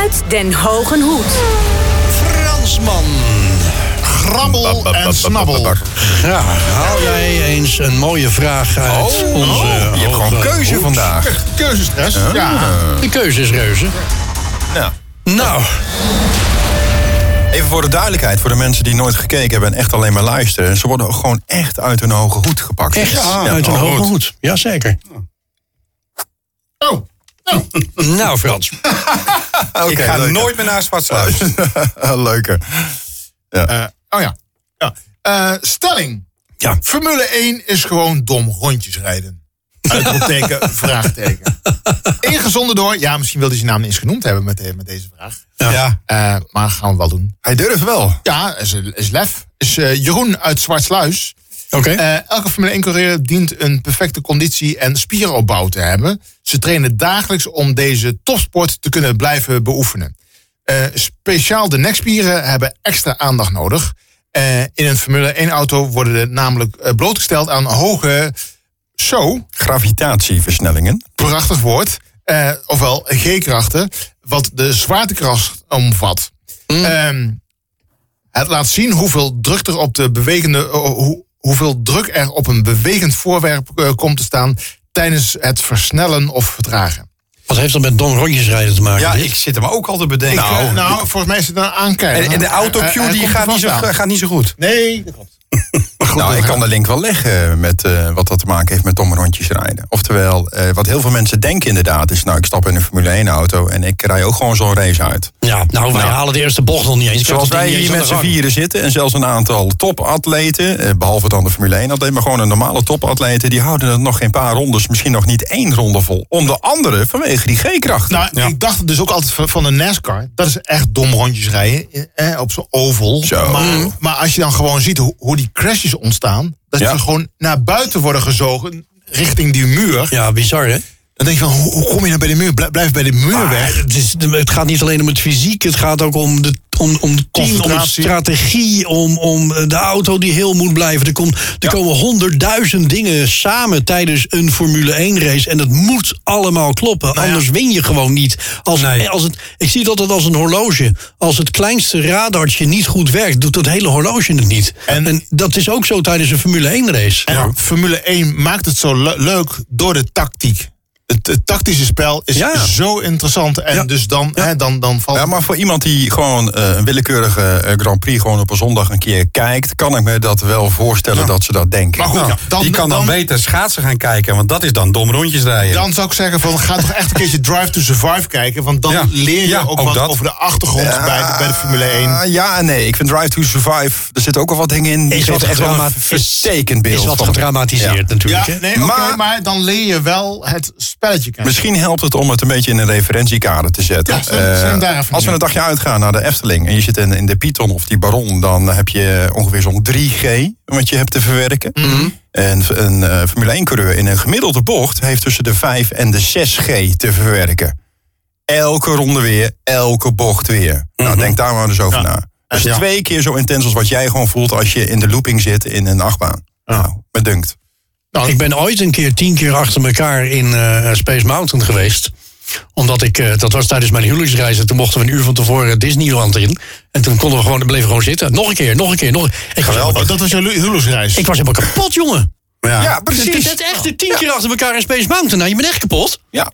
Speaker 5: Uit Den Hogen Hoed.
Speaker 1: Fransman.
Speaker 2: Grabbel en snabbel.
Speaker 1: Ja, haal jij eens een mooie vraag uit onze...
Speaker 4: Oh. je hebt gewoon
Speaker 1: hoge-
Speaker 4: keuze vandaag.
Speaker 2: Keuzestress. Ja.
Speaker 1: De keuze is reuze.
Speaker 4: Nou,
Speaker 1: Nou,
Speaker 4: even voor de duidelijkheid, voor de mensen die nooit gekeken hebben en echt alleen maar luisteren. Ze worden ook gewoon echt uit hun hoge hoed gepakt.
Speaker 1: echt
Speaker 4: Ja.
Speaker 1: uit een
Speaker 4: oh,
Speaker 1: hoge
Speaker 4: goed.
Speaker 1: hoed. Jazeker.
Speaker 4: Ah.
Speaker 2: Oh.
Speaker 1: Nou Frans,
Speaker 4: Oké, Nou.
Speaker 3: ik ga
Speaker 4: leuke.
Speaker 3: nooit meer naar zwart sluiten.
Speaker 4: leuke.
Speaker 2: Eh, oh ja. ja. Eh, stelling.
Speaker 1: Ja.
Speaker 2: Formule 1 is gewoon dom rondjes rijden. Uitroepteken, vraagteken. Ingezonden door, ja, misschien wilde hij zijn naam niet eens genoemd hebben met, de- met deze vraag.
Speaker 3: Ja.
Speaker 2: Eh, maar gaan we wel doen.
Speaker 4: Hij durft wel.
Speaker 2: Ja, is, is lef. Is eh, Jeroen uit Zwartsluis.
Speaker 1: oké.
Speaker 2: Eh, elke Formule 1-coureur dient een perfecte conditie en spieropbouw te hebben. Ze trainen dagelijks om deze topsport te kunnen blijven beoefenen. Eh, speciaal de nekspieren hebben extra aandacht nodig. Eh, in een Formule 1-auto worden de namelijk eh, blootgesteld aan hoge, zo,
Speaker 4: Gravitatieversnellingen.
Speaker 2: prachtig woord, eh, ofwel G-krachten, wat de zwaartekracht omvat.
Speaker 3: Mm.
Speaker 2: Ehm, het laat zien hoeveel druk er op de bewegende, eh, hoe, hoeveel druk er op een bewegend voorwerp eh, komt te staan tijdens het versnellen of vertragen.
Speaker 1: Wat heeft dat met Don Rondjes rijden te maken?
Speaker 3: Ja,
Speaker 1: dit?
Speaker 3: ik zit hem ook al te bedenken.
Speaker 2: Eh, nou, volgens mij is het een aankijken. Eh,
Speaker 3: en, en de autocue die gaat, niet zo, gaat niet zo goed.
Speaker 2: Nee, dat klopt.
Speaker 4: nou, ik kan de link wel leggen met eh, wat dat te maken heeft met domme rondjes rijden. Oftewel, eh, wat heel veel mensen denken inderdaad is... nou, ik stap in een Formule 1-auto en ik rij ook gewoon zo'n race uit.
Speaker 1: ja, nou, wij
Speaker 4: Nou.
Speaker 1: halen de eerste bocht nog niet eens. Ik
Speaker 4: Zoals
Speaker 1: heb dat
Speaker 4: wij
Speaker 1: ding niet
Speaker 4: hier met
Speaker 1: eens
Speaker 4: z'n
Speaker 1: aan de gang.
Speaker 4: vieren zitten en zelfs een aantal topatleten... eh, behalve dan de Formule 1-atleet, maar gewoon een normale topatleten... die houden het nog geen paar rondes, misschien nog niet één ronde vol. Onder andere vanwege die G-kracht.
Speaker 2: Nou, ik dacht het dus ook altijd van, van de NASCAR. Dat is echt dom rondjes rijden eh, op zo'n oval.
Speaker 4: Zo.
Speaker 2: Maar, maar als je dan gewoon ziet hoe, hoe die crashes ontstaan. Dat
Speaker 4: Ja.
Speaker 2: ze gewoon naar buiten worden gezogen richting die muur.
Speaker 1: Ja, bizar hè?
Speaker 2: Dan denk je van, hoe, hoe kom je nou bij de muur? Blijf, blijf bij de muur
Speaker 1: Maar
Speaker 2: weg.
Speaker 1: het, is, het gaat niet alleen om het fysiek, het gaat ook om de om, om het team, om de
Speaker 2: Concentratie.
Speaker 1: strategie, om, om eh, de auto die heel moet blijven. Er, komt, er komen honderdduizend dingen samen tijdens een Formule 1 race. En dat moet allemaal kloppen.
Speaker 2: Nou
Speaker 1: Anders win je gewoon niet. Als, eh, als het, ik zie het altijd als een horloge. Als het kleinste radartje niet goed werkt, doet dat hele horloge het niet. En,
Speaker 2: En-
Speaker 1: dat is ook zo tijdens een Formule 1 race.
Speaker 2: En Formule 1 maakt het zo le- leuk door de tactiek. Het, het tactische spel is
Speaker 1: Ja.
Speaker 2: zo interessant. En
Speaker 1: Ja.
Speaker 2: dus dan, hè, dan, dan valt...
Speaker 4: Ja, maar voor iemand die gewoon eh, een willekeurige eh, Grand Prix gewoon op een zondag een keer kijkt, kan ik me dat wel voorstellen dat ze dat denken.
Speaker 2: Maar goed,
Speaker 4: Nou,
Speaker 2: ja, dan-
Speaker 3: die kan dan,
Speaker 2: dan-
Speaker 3: beter schaatsen gaan kijken, want dat is dan dom rondjes rijden.
Speaker 2: Dan zou ik zeggen van ga toch echt een keertje Drive to Survive kijken. Want dan
Speaker 3: Ja.
Speaker 2: leer je
Speaker 3: Ja,
Speaker 2: ook,
Speaker 3: ook
Speaker 2: wat
Speaker 3: dat.
Speaker 2: over de achtergrond bij, de, bij de Formule 1.
Speaker 4: Ah, ja en nee. Ik vind Drive to Survive, er zitten ook al wat dingen in. Die
Speaker 1: Is wat
Speaker 4: geven echt wel een
Speaker 1: gedrama-
Speaker 4: verstekend beeld.
Speaker 1: Is wat
Speaker 4: van-
Speaker 1: gedramatiseerd
Speaker 4: Ja.
Speaker 2: Ja,
Speaker 1: natuurlijk. hè?
Speaker 2: nee, oké,
Speaker 4: Maar-
Speaker 2: maar, dan leer je wel het spelletje kennen.
Speaker 4: Misschien helpt het om het een beetje in een referentiekader te zetten.
Speaker 2: Ja, stem- stem
Speaker 4: Eh,
Speaker 2: daar even
Speaker 4: als
Speaker 2: in.
Speaker 4: we een dagje uitgaan naar de Efteling en je zit in, in de Python of die Baron, dan heb je ongeveer zo'n 3G wat je hebt te verwerken.
Speaker 2: Mhm.
Speaker 4: En v- een eh, Formule 1-coureur in een gemiddelde bocht heeft tussen de 5 en de 6G te verwerken. Elke ronde weer, elke bocht weer. Nou, denk daar maar eens over na. Dat is
Speaker 2: Mhm. Ja.
Speaker 4: twee keer zo intens als wat jij gewoon voelt als je in de looping zit in een achtbaan. Nou, me dunkt.
Speaker 2: Nou,
Speaker 1: Ik ben ooit een keer tien keer achter elkaar in eh, Space Mountain geweest. Omdat ik, eh, dat was tijdens mijn huwelijksreis. En toen mochten we een uur van tevoren Disneyland in. En toen konden we gewoon, bleven gewoon zitten. Nog een keer, nog een keer, nog een ik was, helemaal,
Speaker 2: Oh, dat was jouw lu- huwelijksreis.
Speaker 1: ik was helemaal kapot, jongen.
Speaker 3: ja.
Speaker 1: Het is echt de tien keer achter elkaar in Space Mountain. Nou, je bent echt kapot.
Speaker 4: Ja.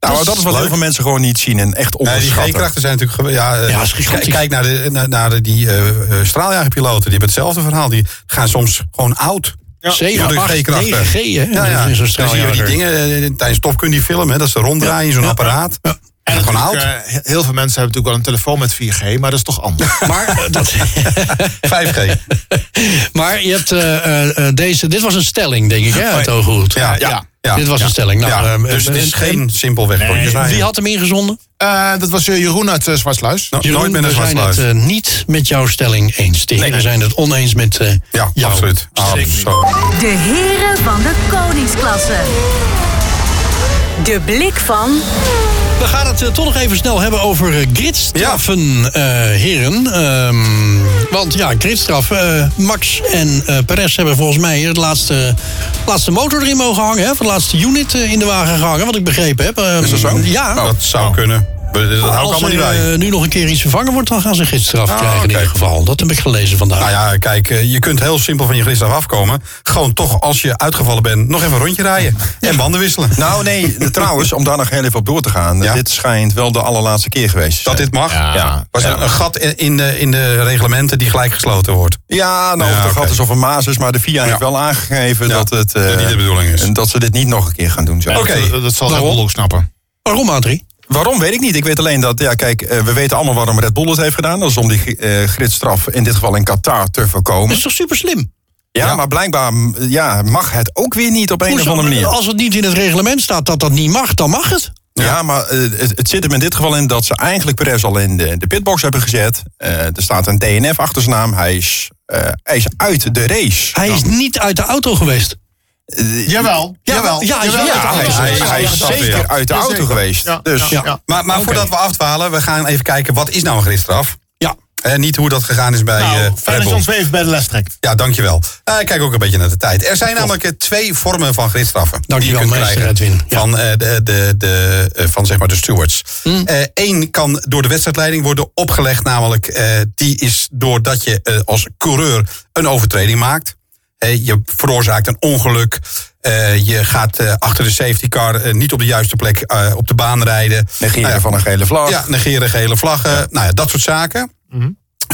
Speaker 4: Nou, dat is wat heel veel mensen gewoon niet zien en echt
Speaker 3: Nee, die
Speaker 4: onderschatten.
Speaker 3: G-krachten zijn natuurlijk... gewe- Ja, eh,
Speaker 1: Ja, is gigantisch.
Speaker 3: k- kijk naar, de, naar, naar de, die eh, eh, straaljagerpiloten, die hebben hetzelfde verhaal. Die gaan soms gewoon oud.
Speaker 1: Zeven,
Speaker 3: door de
Speaker 1: acht,
Speaker 3: G-krachten.
Speaker 1: negen G, hè?
Speaker 3: Ja, ja.
Speaker 1: In zo'n
Speaker 3: Dan zie je die
Speaker 1: straaljager.
Speaker 3: dingen eh, tijdens Top Gun die film, hè, dat ze ronddraaien in zo'n apparaat. En gewoon
Speaker 2: Natuurlijk,
Speaker 3: oud.
Speaker 2: eh, he- heel veel mensen hebben natuurlijk wel een telefoon met 4G, maar dat is toch anders.
Speaker 1: (laughs) Maar, eh, dat, Nou,
Speaker 3: 5G.
Speaker 1: maar je hebt eh, eh, eh, deze... Dit was een stelling, denk ik, hè, uit Ooghoed.
Speaker 2: ja.
Speaker 1: Dit was een stelling. Nou,
Speaker 3: Ja,
Speaker 1: ehm,
Speaker 3: dus het is
Speaker 1: eh,
Speaker 3: geen simpel wegrondjes rijden.
Speaker 1: Wie had hem ingezonden?
Speaker 2: (laughs) Eh, dat was eh, Jeroen uit eh, Zwartsluis.
Speaker 3: Nou,
Speaker 1: Jeroen,
Speaker 3: nooit met een
Speaker 1: we zijn
Speaker 3: zwartsluis.
Speaker 1: het eh, niet met jouw stelling eens. De heren
Speaker 3: Nee.
Speaker 1: zijn het oneens met eh
Speaker 3: Ja,
Speaker 1: jouw
Speaker 3: absoluut. Ah,
Speaker 1: stelling.
Speaker 3: Absoluut.
Speaker 5: De heren van de koningsklasse. De blik van
Speaker 1: We gaan het eh, toch nog even snel hebben over eh, gridstraffen, eh, heren. Ehm, want ja, gridstraf. eh, Max en eh Perez hebben volgens mij het laatste, laatste motor erin mogen hangen. Hè, of het laatste unit eh, in de wagen gehangen, wat ik begrepen heb. Ehm,
Speaker 3: Is dat zo?
Speaker 1: Ja.
Speaker 3: Nou, dat zou kunnen. We- Dat hou ik
Speaker 1: Als
Speaker 3: allemaal
Speaker 1: er
Speaker 3: niet bij.
Speaker 1: eh, nu nog een keer iets vervangen wordt, dan gaan ze gridstraf
Speaker 3: Ah,
Speaker 1: krijgen in
Speaker 3: oké.
Speaker 1: ieder geval. Dat heb ik gelezen vandaag.
Speaker 3: Nou ja, kijk, eh, je kunt heel simpel van je gridstraf afkomen. Gewoon toch, als je uitgevallen bent, nog even een rondje rijden. En banden wisselen.
Speaker 4: Nou
Speaker 3: (laughs)
Speaker 4: nee, de- trouwens, om daar nog heel even op door te gaan.
Speaker 3: Ja.
Speaker 4: Dit schijnt wel de allerlaatste keer geweest. te
Speaker 3: Dat
Speaker 4: zijn.
Speaker 3: dit mag.
Speaker 2: Ja.
Speaker 3: Ja. Was een- een gat in- in de, in de reglementen die gelijk gesloten wordt.
Speaker 4: Ja, nou, of
Speaker 3: Ja,
Speaker 4: het een gat
Speaker 3: oké.
Speaker 4: is of een maas is, maar de VIA heeft
Speaker 3: Ja.
Speaker 4: wel aangegeven
Speaker 3: Ja,
Speaker 4: dat het... eh,
Speaker 3: dat niet de bedoeling is.
Speaker 4: En dat ze dit niet nog een keer gaan doen. zo.
Speaker 3: Oké.
Speaker 2: Dat, dat zal Red
Speaker 3: Waarom?
Speaker 2: Bull ook snappen.
Speaker 1: Waarom, Adrie?
Speaker 4: Waarom weet ik niet. Ik weet alleen dat, ja, kijk, eh, we weten allemaal waarom Red Bull het heeft gedaan. Dat is om die eh gridstraf in dit geval in Qatar te
Speaker 1: Dat
Speaker 4: voorkomen.
Speaker 1: is toch super slim?
Speaker 4: Ja, maar blijkbaar m, ja, mag het ook weer niet op een
Speaker 1: Hoezo?
Speaker 4: of andere manier.
Speaker 1: Als het niet in het reglement staat dat dat niet mag, dan mag het.
Speaker 4: Ja, maar eh, het, het zit hem in dit geval in dat ze eigenlijk Perez al in de, de pitbox hebben gezet. Eh, er staat een DNF achter zijn naam. Hij is, eh, hij is uit de race.
Speaker 1: Hij is niet uit de auto geweest.
Speaker 2: Jawel. Jawel.
Speaker 1: ja, hij is wel
Speaker 2: jawel,
Speaker 1: uit de
Speaker 4: Ja, hij is,
Speaker 1: auto.
Speaker 4: hij is-
Speaker 3: Ja,
Speaker 4: hij is
Speaker 3: ja,
Speaker 4: zeker
Speaker 3: ja.
Speaker 4: uit de auto
Speaker 2: Jazeker.
Speaker 4: geweest.
Speaker 2: Ja,
Speaker 4: dus
Speaker 2: ja, ja.
Speaker 3: Maar, maar voordat we afdwalen, we gaan even kijken wat is nou een gridstraf.
Speaker 1: Ja.
Speaker 3: En niet hoe dat gegaan is bij eh,
Speaker 2: Nou,
Speaker 3: Red
Speaker 2: fijn dat je
Speaker 3: Bull.
Speaker 2: ons weer even bij de les trekt.
Speaker 3: Ja, dankjewel. Eh, ik kijk ook een beetje naar de tijd. Er zijn namelijk eh, twee vormen van gridstraffen.
Speaker 1: Dankjewel,
Speaker 3: die je kunt
Speaker 1: meester
Speaker 3: krijgen
Speaker 1: Edwin. Ja.
Speaker 3: Van, eh, de, de, de, eh, van zeg maar de stewards.
Speaker 1: Hmm.
Speaker 3: Eén kan door de wedstrijdleiding worden opgelegd. Namelijk, eh, die is doordat je eh, als coureur een overtreding maakt. Eh, je veroorzaakt een ongeluk. Eh, je gaat eh, achter de safety car eh, niet op de juiste plek eh, op de baan rijden.
Speaker 4: negeren
Speaker 3: Nou ja,
Speaker 4: van een gele vlag.
Speaker 3: ja, negeren gele vlaggen. Nou ja, Mhm. dat soort zaken.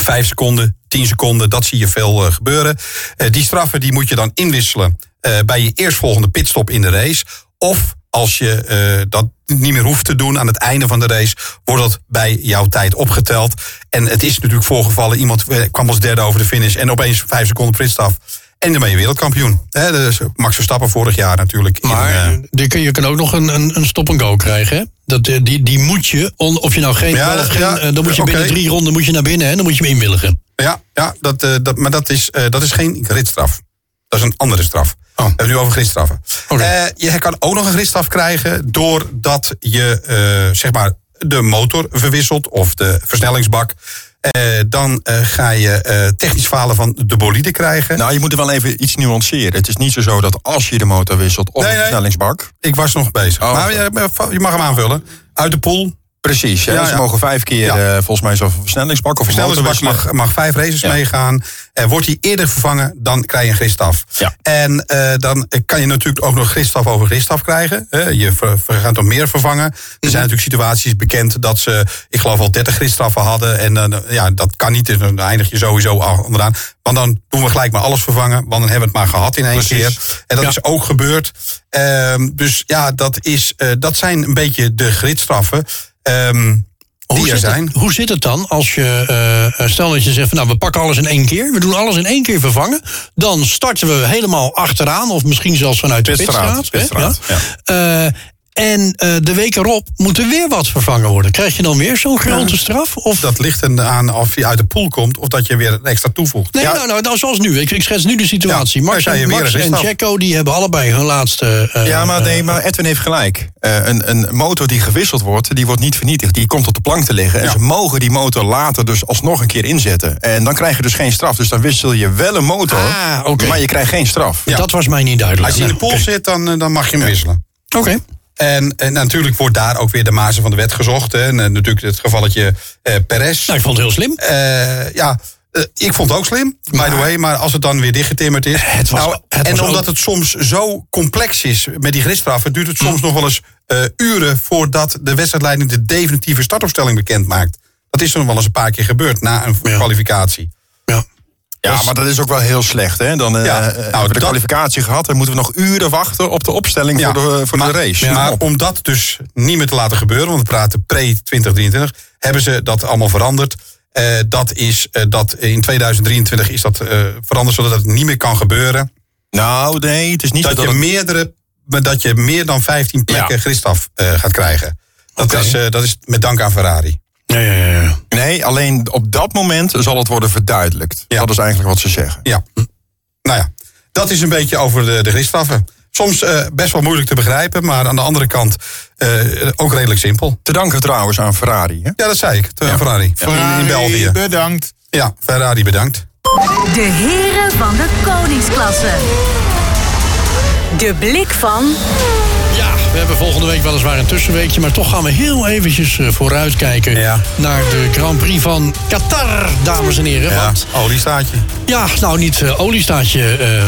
Speaker 3: Vijf seconden, tien seconden, dat zie je veel eh, gebeuren. Eh, die straffen die moet je dan inwisselen eh, bij je eerstvolgende pitstop in de race. Of als je eh, dat niet meer hoeft te doen aan het einde van de race, wordt dat bij jouw tijd opgeteld. En het is natuurlijk voorgevallen, iemand eh, kwam als derde over de finish en opeens vijf seconden pitstraf. En dan ben je wereldkampioen. Hè, dus Max Verstappen vorig jaar natuurlijk. in,
Speaker 1: Maar
Speaker 3: eh,
Speaker 1: eh, die kun- je kan ook nog een, een, een stop-and-go krijgen. hè? Dat, eh, die, die moet je, on- of je nou geen
Speaker 3: Ja,
Speaker 1: bal of
Speaker 3: dat-
Speaker 1: geen...
Speaker 3: ja,
Speaker 1: eh, dan moet je binnen
Speaker 3: oké.
Speaker 1: drie ronden moet je naar binnen en dan moet je hem inwilligen.
Speaker 3: Ja, ja
Speaker 4: Oh.
Speaker 3: dat, eh, dat, maar dat is, eh, dat is geen gridstraf. Dat is een andere straf. We hebben het nu over gridstraffen.
Speaker 1: Oké.
Speaker 3: Eh, je kan ook nog een gridstraf krijgen doordat je eh, zeg maar de motor verwisselt of de versnellingsbak. Eh, dan eh, ga je eh, technisch falen van de bolide krijgen.
Speaker 4: Nou, je moet er wel even iets nuanceren. Het is niet zo zo dat als je de motor wisselt of
Speaker 3: Nee,
Speaker 4: de
Speaker 3: nee.
Speaker 4: versnellingsbak...
Speaker 3: ik was nog bezig.
Speaker 4: Oh.
Speaker 3: maar je, je mag hem aanvullen. Uit de pool.
Speaker 4: Precies, ja,
Speaker 3: Ja,
Speaker 4: ze
Speaker 3: ja.
Speaker 4: mogen vijf keer
Speaker 3: Ja.
Speaker 4: eh, volgens mij zo'n versnellingsbak of een motor
Speaker 3: Versnellingsbak
Speaker 4: wisselen.
Speaker 3: mag, mag vijf races
Speaker 4: Ja.
Speaker 3: meegaan. En wordt hij eerder vervangen, dan krijg je een gridstaf.
Speaker 4: Ja.
Speaker 3: En eh, dan kan je natuurlijk ook nog gridstaf over gridstaf krijgen. hè. je ver- ver- gaat nog meer vervangen. Er
Speaker 1: Mhm.
Speaker 3: zijn natuurlijk situaties bekend dat ze, ik geloof al 30 gridstraffen hadden. En dan, eh, ja, dat kan niet, dus dan eindig je sowieso al- onderaan. Want dan doen we gelijk maar alles vervangen. Want dan hebben we het maar gehad in één
Speaker 4: Precies.
Speaker 3: keer. En dat
Speaker 1: Ja.
Speaker 3: is ook gebeurd. Ehm, dus ja, dat, is, eh, dat zijn een beetje de gridstraffen. ehm,
Speaker 1: Hoe
Speaker 3: die er
Speaker 1: zit,
Speaker 3: zijn.
Speaker 1: het, hoe zit het dan als je, eh, eh, stel dat je zegt, van, nou we pakken alles in één keer, we doen alles in één keer vervangen, dan starten we helemaal achteraan, of misschien zelfs vanuit de
Speaker 4: Pitstraat,
Speaker 1: pitstraat. hè, Eh, en eh, de week erop moet er weer wat vervangen worden. Krijg je dan weer zo'n grote straf? Of
Speaker 3: dat ligt er aan of je uit de pool komt of dat je weer een extra toevoegt.
Speaker 1: Nee,
Speaker 3: Ja,
Speaker 1: nou, nou, nou, zoals nu. Ik, ik schets nu de situatie.
Speaker 3: Ja,
Speaker 1: Max
Speaker 3: daar zei
Speaker 1: en,
Speaker 3: je weer
Speaker 1: Max
Speaker 3: een
Speaker 1: en
Speaker 3: misstap.
Speaker 1: Jacko die hebben allebei hun laatste. eh,
Speaker 4: Ja, maar, nee, maar Edwin heeft gelijk. Eh, een, een motor die gewisseld wordt, die wordt niet vernietigd. Die komt op de plank te liggen. En
Speaker 3: Ja.
Speaker 4: ze mogen die motor later dus alsnog een keer inzetten. En dan krijg je dus geen straf. Dus dan wissel je wel een motor,
Speaker 1: Ah, oké.
Speaker 4: maar je krijgt geen straf.
Speaker 1: Dat was mij niet duidelijk.
Speaker 3: als je in de pool
Speaker 1: Nou,
Speaker 3: zit, dan, eh, dan mag je hem wisselen.
Speaker 1: Oké. Oké.
Speaker 3: En, en natuurlijk wordt daar ook weer de mazen van de wet gezocht. Hè. En eh, natuurlijk het gevalletje eh Perez.
Speaker 1: Nou, ik vond het heel slim.
Speaker 3: Eh, ja, eh, ik vond het ook slim, by the way. Maar als het dan weer dichtgetimmerd is...
Speaker 1: Het was-
Speaker 3: nou,
Speaker 1: het
Speaker 3: en
Speaker 1: was
Speaker 3: omdat
Speaker 1: ook-
Speaker 3: het soms zo complex is met die gridstraffen... duurt het soms nog wel eens eh, uren voordat de wedstrijdleiding... de definitieve startopstelling bekend maakt. Dat is nog wel eens een paar keer gebeurd na een
Speaker 1: Ja.
Speaker 3: kwalificatie.
Speaker 1: Ja.
Speaker 4: Ja, maar dat is ook wel heel slecht. Hè? Dan eh
Speaker 3: Ja,
Speaker 4: eh,
Speaker 3: nou,
Speaker 4: hebben we de
Speaker 3: dat-
Speaker 4: kwalificatie gehad. Dan moeten we nog uren wachten op de opstelling
Speaker 3: Ja,
Speaker 4: voor, de, voor
Speaker 3: maar,
Speaker 4: de race.
Speaker 3: Maar
Speaker 4: Kom op.
Speaker 3: om dat dus niet meer te laten gebeuren, want we praten pre-2023, hebben ze dat allemaal veranderd. Eh, dat is eh, dat in 2023 is dat eh, veranderd, zodat het niet meer kan gebeuren.
Speaker 4: nou, nee, het is niet
Speaker 3: Dat,
Speaker 4: zo dat
Speaker 3: je
Speaker 4: het-
Speaker 3: meerdere, maar dat je meer dan 15 plekken
Speaker 4: Ja.
Speaker 3: gridstaf eh, gaat krijgen. Dat, is, eh, dat is met dank aan Ferrari.
Speaker 1: Ja, ja, ja. ja.
Speaker 4: Nee, alleen op dat moment zal het worden verduidelijkt.
Speaker 3: Ja.
Speaker 4: Dat is eigenlijk wat ze zeggen.
Speaker 3: Ja. Nou ja, dat is een beetje over de, de gridstraffen. Soms eh, best wel moeilijk te begrijpen, maar aan de andere kant eh, ook redelijk simpel.
Speaker 4: Te danken trouwens aan Ferrari. Hè?
Speaker 3: Ja, dat zei ik. Te- Ferrari. In, in België.
Speaker 2: Bedankt.
Speaker 3: Ja, Ferrari bedankt.
Speaker 5: De heren van de koningsklasse. De blik van
Speaker 1: Ja, we hebben volgende week weliswaar een tussenweekje, maar toch gaan we heel eventjes eh, vooruitkijken
Speaker 3: Ja.
Speaker 1: naar de Grand Prix van Qatar, dames en heren.
Speaker 3: Ja,
Speaker 1: Want
Speaker 3: oh, die staat je.
Speaker 1: ja, nou niet eh, oliestaatje, eh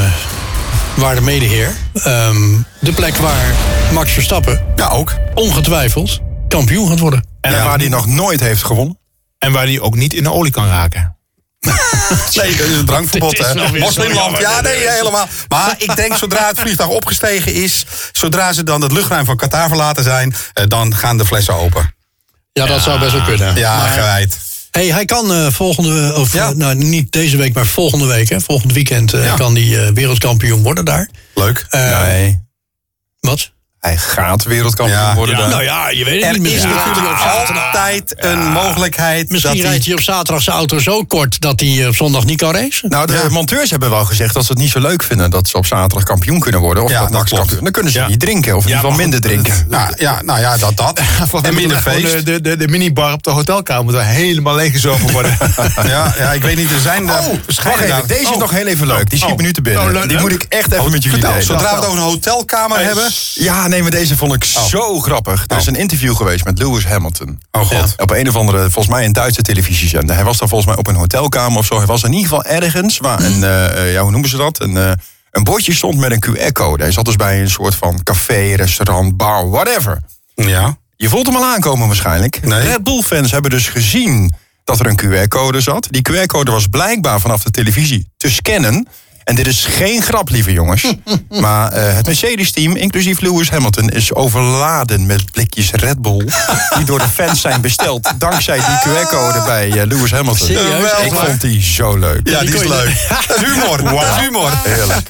Speaker 1: waarde medeheer. Ehm, de plek waar Max Verstappen
Speaker 3: Ja, ook.
Speaker 1: ongetwijfeld kampioen gaat worden.
Speaker 4: En waar die nog nooit heeft gewonnen.
Speaker 2: En waar hij ook niet in de olie kan raken.
Speaker 3: (laughs) Nee, dat is een drankverbod,
Speaker 1: Dit is nou
Speaker 3: hè.
Speaker 1: weer zo
Speaker 3: Moslimland,
Speaker 1: jammer.
Speaker 3: ja, nee, helemaal. Maar ik denk, zodra het vliegtuig opgestegen is... zodra ze dan het luchtruim van Qatar verlaten zijn... eh, dan gaan de flessen open.
Speaker 1: Ja, dat zou best wel kunnen.
Speaker 3: Ja, gewijd.
Speaker 1: Hey, hij kan eh, volgende, of
Speaker 3: Ja.
Speaker 1: eh, nou niet deze week, maar volgende week, hè, volgend weekend, eh, kan hij eh, wereldkampioen worden daar.
Speaker 3: Leuk.
Speaker 1: Eh,
Speaker 4: nee,
Speaker 1: Wat?
Speaker 4: hij gaat wereldkampioen
Speaker 3: Ja.
Speaker 4: worden. daar.
Speaker 1: Nou ja, je weet het
Speaker 3: Er
Speaker 1: niet
Speaker 3: is
Speaker 1: meer.
Speaker 3: natuurlijk altijd een mogelijkheid...
Speaker 1: Misschien
Speaker 3: dat die-
Speaker 1: rijdt hij op zaterdag zijn auto zo kort dat hij eh, op zondag niet kan racen.
Speaker 4: Nou, de monteurs hebben wel gezegd dat ze het niet zo leuk vinden dat ze op zaterdag kampioen kunnen worden. Of
Speaker 3: Ja,
Speaker 4: dat
Speaker 3: dat
Speaker 4: Max
Speaker 3: klopt.
Speaker 4: kampioen. Dan kunnen ze niet drinken. Of in ieder geval minder drinken.
Speaker 3: Nou ja, nou ja, dat dat.
Speaker 2: Volgens
Speaker 3: En
Speaker 2: mij
Speaker 3: minder
Speaker 2: moet er gewoon eh,
Speaker 3: feest.
Speaker 2: De, de, de minibar op de hotelkamer moet er helemaal leeggezogen worden.
Speaker 3: Ja, ja, ik weet niet, er zijn daar
Speaker 4: Wacht
Speaker 3: verschillende...
Speaker 4: even, deze is nog heel even leuk. Die schiet
Speaker 2: Oh.
Speaker 4: me nu te binnen.
Speaker 2: Oh, leuk,
Speaker 4: Die
Speaker 2: leuk.
Speaker 4: moet ik echt even met jullie
Speaker 3: Vertel,
Speaker 4: delen.
Speaker 3: zodra we het over een hotelkamer hebben...
Speaker 4: Ja, nee, maar deze vond ik zo grappig. Er is een interview geweest met Lewis Hamilton.
Speaker 3: Oh, God.
Speaker 4: Ja. Op een of andere, volgens mij een Duitse televisiezender. Hij was daar volgens mij op een hotelkamer of zo. Hij was in ieder geval ergens waar
Speaker 3: Mm.
Speaker 4: een, eh, eh, ja, hoe noemen ze dat? Een, eh, een bordje stond met een QR-code. Hij zat dus bij een soort van café, restaurant, bar, whatever.
Speaker 3: Ja.
Speaker 4: Je voelt hem al aankomen waarschijnlijk.
Speaker 3: Nee.
Speaker 4: Red Bull-fans hebben dus gezien dat er een QR-code zat. Die QR-code was blijkbaar vanaf de televisie te scannen. En dit is geen grap, lieve jongens. maar eh, het Mercedes-team, inclusief Lewis Hamilton... is overladen met blikjes Red Bull... die door de fans zijn besteld... dankzij die QR-code bij eh, Lewis Hamilton.
Speaker 3: Nou,
Speaker 1: Serieus?
Speaker 4: Ik vond die zo leuk.
Speaker 3: Ja, die is
Speaker 1: (laughs) kon je-
Speaker 3: leuk. Dat is humor. Dat is humor.
Speaker 4: Heerlijk.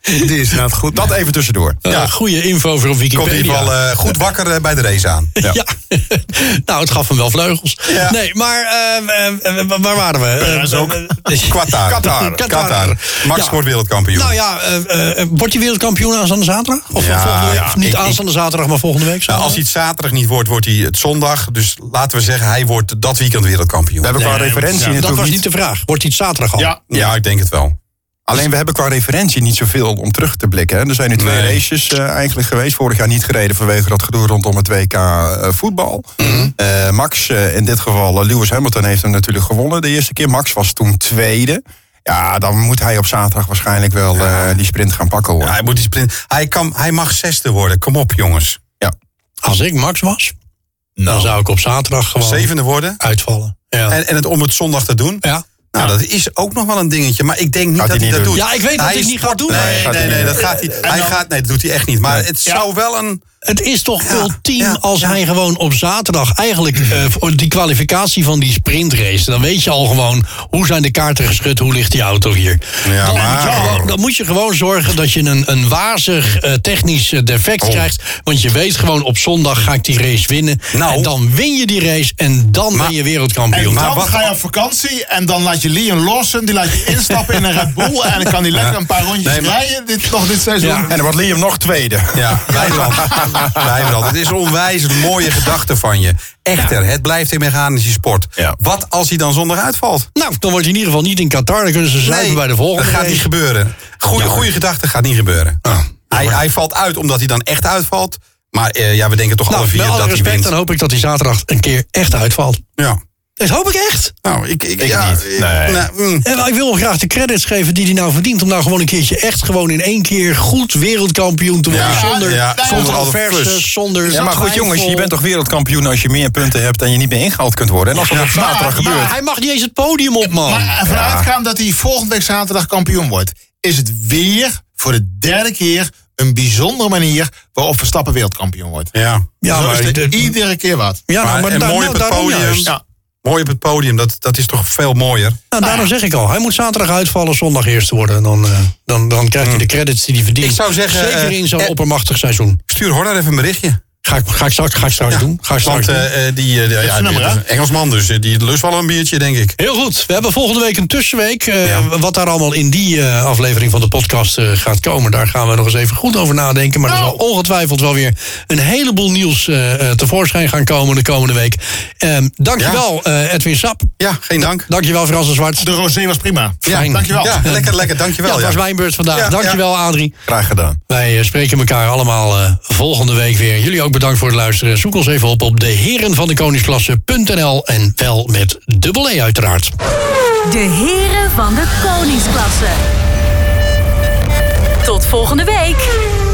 Speaker 2: Die is inderdaad goed.
Speaker 4: Dat even tussendoor.
Speaker 1: ja. eh, goede info voor op
Speaker 3: Komt in
Speaker 1: Wikipedia.
Speaker 3: ieder geval eh, goed wakker eh, bij de race aan.
Speaker 4: Ja.
Speaker 1: Ja, (laughs) nou, het gaf hem wel vleugels.
Speaker 3: Ja.
Speaker 1: Nee, maar eh, eh, eh, waar waren we? Eh,
Speaker 3: is ook-
Speaker 1: eh,
Speaker 3: Qatar.
Speaker 1: Qatar.
Speaker 3: Qatar. Max
Speaker 1: Ja.
Speaker 3: wordt wereldkampioen.
Speaker 1: Nou ja, eh, eh, wordt hij wereldkampioen aanstaande zaterdag? Of
Speaker 3: Ja,
Speaker 1: volgende week?
Speaker 3: ja,
Speaker 1: Of niet
Speaker 3: ik- ik-
Speaker 1: aanstaande zaterdag, maar volgende week?
Speaker 3: Nou, als
Speaker 1: zaterdag?
Speaker 3: hij het zaterdag niet wordt, wordt hij het zondag. Dus laten we zeggen, hij wordt dat weekend wereldkampioen.
Speaker 4: We hebben qua referentie
Speaker 1: Ja, dat
Speaker 4: natuurlijk
Speaker 1: was
Speaker 4: niet,
Speaker 1: niet de vraag. Wordt hij het zaterdag al?
Speaker 2: Ja.
Speaker 3: Ja, ik denk het wel.
Speaker 4: Alleen we hebben qua referentie niet zoveel om terug te blikken. Hè. Er zijn nu twee
Speaker 3: Nee.
Speaker 4: races eh, eigenlijk geweest. Vorig jaar niet gereden vanwege dat gedoe rondom het WK eh, voetbal.
Speaker 3: Mhm.
Speaker 4: Eh, Max, eh, in dit geval eh, Lewis Hamilton, heeft hem natuurlijk gewonnen de eerste keer. Max was toen tweede. Ja, dan moet hij op zaterdag waarschijnlijk wel eh, die sprint gaan pakken hoor.
Speaker 3: Ja, hij, moet die sprint, hij, kan, hij mag zesde worden. Kom op, jongens.
Speaker 1: Als ik Max was, dan
Speaker 2: Nou.
Speaker 1: zou ik op zaterdag gewoon
Speaker 3: Zevende worden.
Speaker 1: uitvallen. Ja.
Speaker 3: En, en het om het zondag te doen.
Speaker 1: ja.
Speaker 3: Nou, dat is ook nog wel een dingetje. Maar ik denk niet
Speaker 4: Gaat
Speaker 3: dat
Speaker 4: hij
Speaker 3: hij
Speaker 4: niet
Speaker 3: dat
Speaker 4: doen.
Speaker 3: doet.
Speaker 1: Ja, ik weet dat hij
Speaker 3: is
Speaker 1: het niet gaat doen.
Speaker 3: sport-
Speaker 1: Nee,
Speaker 3: Nee,
Speaker 4: gaat
Speaker 3: nee,
Speaker 4: hij
Speaker 3: nee,
Speaker 4: niet
Speaker 3: dat gaat hij. Hij gaat, nee, dat doet hij echt niet. Maar het zou wel een.
Speaker 1: Het is toch
Speaker 3: Ja,
Speaker 1: ultiem
Speaker 3: ja,
Speaker 1: als
Speaker 3: ja.
Speaker 1: hij gewoon op zaterdag (clears throat) eigenlijk eh, voor die kwalificatie van die sprintrace. Dan weet je al gewoon hoe zijn de kaarten geschud, hoe ligt die auto hier.
Speaker 3: Ja,
Speaker 1: dan, moet je
Speaker 3: maar-
Speaker 1: gewoon, dan moet je gewoon zorgen dat je een, een wazig eh, technisch eh, defect krijgt. Want je weet gewoon op zondag ga ik die race winnen.
Speaker 3: Nou.
Speaker 1: en dan win je die race en dan ben je
Speaker 2: En
Speaker 1: wereldkampioen.
Speaker 3: Maar
Speaker 2: dan
Speaker 3: wat-
Speaker 2: ga je op vakantie en dan laat je Leon Lawson, die laat je instappen in een Red Bull en dan kan hij lekker een paar rondjes
Speaker 3: Nee, maar-
Speaker 2: rijden dit, nog dit seizoen.
Speaker 1: Ja.
Speaker 4: En dan wordt Liam nog tweede. (laughs)
Speaker 3: Ja, Wijnand. Wijnand. Het is een onwijs mooie gedachte van je. Echter, het blijft een mechanische sport.
Speaker 4: Ja.
Speaker 3: Wat als hij dan zondag uitvalt?
Speaker 1: nou, dan wordt hij in ieder geval niet in Qatar. Dan kunnen ze zuipen bij de volgende.
Speaker 3: dat gaat
Speaker 1: race.
Speaker 3: niet gebeuren. Goede, goede gedachte gaat niet gebeuren.
Speaker 4: Ah,
Speaker 3: hij, hij valt uit omdat hij dan echt uitvalt. Maar eh, ja, we denken toch alle
Speaker 1: nou, met
Speaker 3: vier
Speaker 1: alle
Speaker 3: dat hij
Speaker 1: respect,
Speaker 3: wint.
Speaker 1: dan hoop ik dat hij zaterdag een keer echt uitvalt.
Speaker 3: Ja.
Speaker 1: Dat hoop ik echt.
Speaker 3: Nou, ik, ik,
Speaker 4: niet.
Speaker 3: eh,
Speaker 4: Nee.
Speaker 3: nou, mm.
Speaker 1: En ik wil hem graag de credits geven die hij nou verdient. Om nou gewoon een keertje echt gewoon in één keer goed wereldkampioen te worden.
Speaker 3: Ja,
Speaker 1: zonder
Speaker 3: ja,
Speaker 1: zonder
Speaker 3: zonder alle
Speaker 1: controverse,
Speaker 3: plus.
Speaker 1: zonder.
Speaker 4: Ja, maar goed
Speaker 1: twijfel.
Speaker 4: jongens, je bent toch wereldkampioen als je meer punten hebt en je niet meer ingehaald kunt worden. En als dat op zaterdag
Speaker 1: Maar
Speaker 4: gebeurt.
Speaker 1: hij mag niet eens het podium op, man.
Speaker 2: Maar
Speaker 3: Oh,
Speaker 2: ervan uitgaan dat hij volgende week zaterdag kampioen wordt, is het weer voor de derde keer een bijzondere manier waarop Verstappen wereldkampioen wordt.
Speaker 3: Ja.
Speaker 1: ja,
Speaker 2: Zo
Speaker 1: maar,
Speaker 2: is er
Speaker 1: de-
Speaker 2: iedere keer wat.
Speaker 1: ja,
Speaker 3: maar-
Speaker 1: nou, maar
Speaker 3: en
Speaker 1: daar-
Speaker 3: mooi
Speaker 1: nou,
Speaker 3: op het
Speaker 1: daarom
Speaker 3: podium.
Speaker 1: juist.
Speaker 2: Ja.
Speaker 3: Mooi op het podium, dat, dat is toch veel mooier.
Speaker 1: Nou, daarom zeg ik al. Hij moet zaterdag uitvallen, zondag eerst worden. En dan, eh, dan, dan krijgt hij de credits die hij verdient.
Speaker 3: Hmm. Ik zou zeggen,
Speaker 1: Zeker
Speaker 3: eh,
Speaker 1: in zo'n
Speaker 3: eh,
Speaker 1: oppermachtig seizoen.
Speaker 3: Stuur Horner even een berichtje.
Speaker 1: Ga ik, ga ik straks, ga ik straks doen. Ga ik straks
Speaker 3: Want
Speaker 1: doen.
Speaker 3: eh, eh, die, eh, die- ja,
Speaker 2: nummer,
Speaker 3: die-
Speaker 2: hè?
Speaker 3: Engelsman dus, eh, die lust wel een biertje, denk ik.
Speaker 1: Heel goed. We hebben volgende week een tussenweek. Eh, Wat daar allemaal in die eh, aflevering van de podcast eh, gaat komen, daar gaan we nog eens even goed over nadenken. Maar er zal ongetwijfeld wel weer een heleboel nieuws eh, eh, tevoorschijn gaan komen de komende week. Ehm dankjewel, eh, Edwin Sap.
Speaker 3: Ja, geen dank.
Speaker 1: Dankjewel, Frans de Zwart.
Speaker 2: De rosé was prima.
Speaker 1: Fijn.
Speaker 2: dankjewel.
Speaker 3: Ja, lekker, lekker,
Speaker 1: Ja,
Speaker 3: dankjewel.
Speaker 1: het
Speaker 3: Ja,
Speaker 1: was mijn beurt vandaag.
Speaker 3: Ja,
Speaker 1: dankjewel, Adrie.
Speaker 4: Graag gedaan.
Speaker 1: Wij eh, spreken elkaar allemaal eh, volgende week weer. Jullie ook bedankt voor het luisteren. Zoek ons even op op deherenvandekoningsklasse.nl en wel met dubbel E uiteraard.
Speaker 5: De heren van de koningsklasse. Tot volgende week.